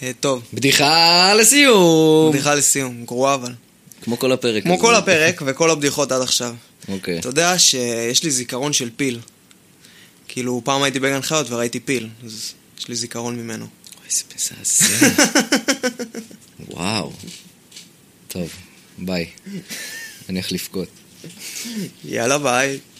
S2: אה, טוב,
S1: בדיחה לסיום!
S2: בדיחה לסיום, גרועה אבל.
S1: כמו כל הפרק.
S2: כמו
S1: הזה.
S2: כל הפרק וכל הבדיחות עד עכשיו.
S1: אוקיי.
S2: אתה יודע שיש לי זיכרון של פיל. כאילו, פעם הייתי בגן חיות וראיתי פיל, אז יש לי זיכרון ממנו.
S1: וואי, זה מזעזע. וואו. טוב, ביי. אני הולך לבכות.
S2: יאללה ביי.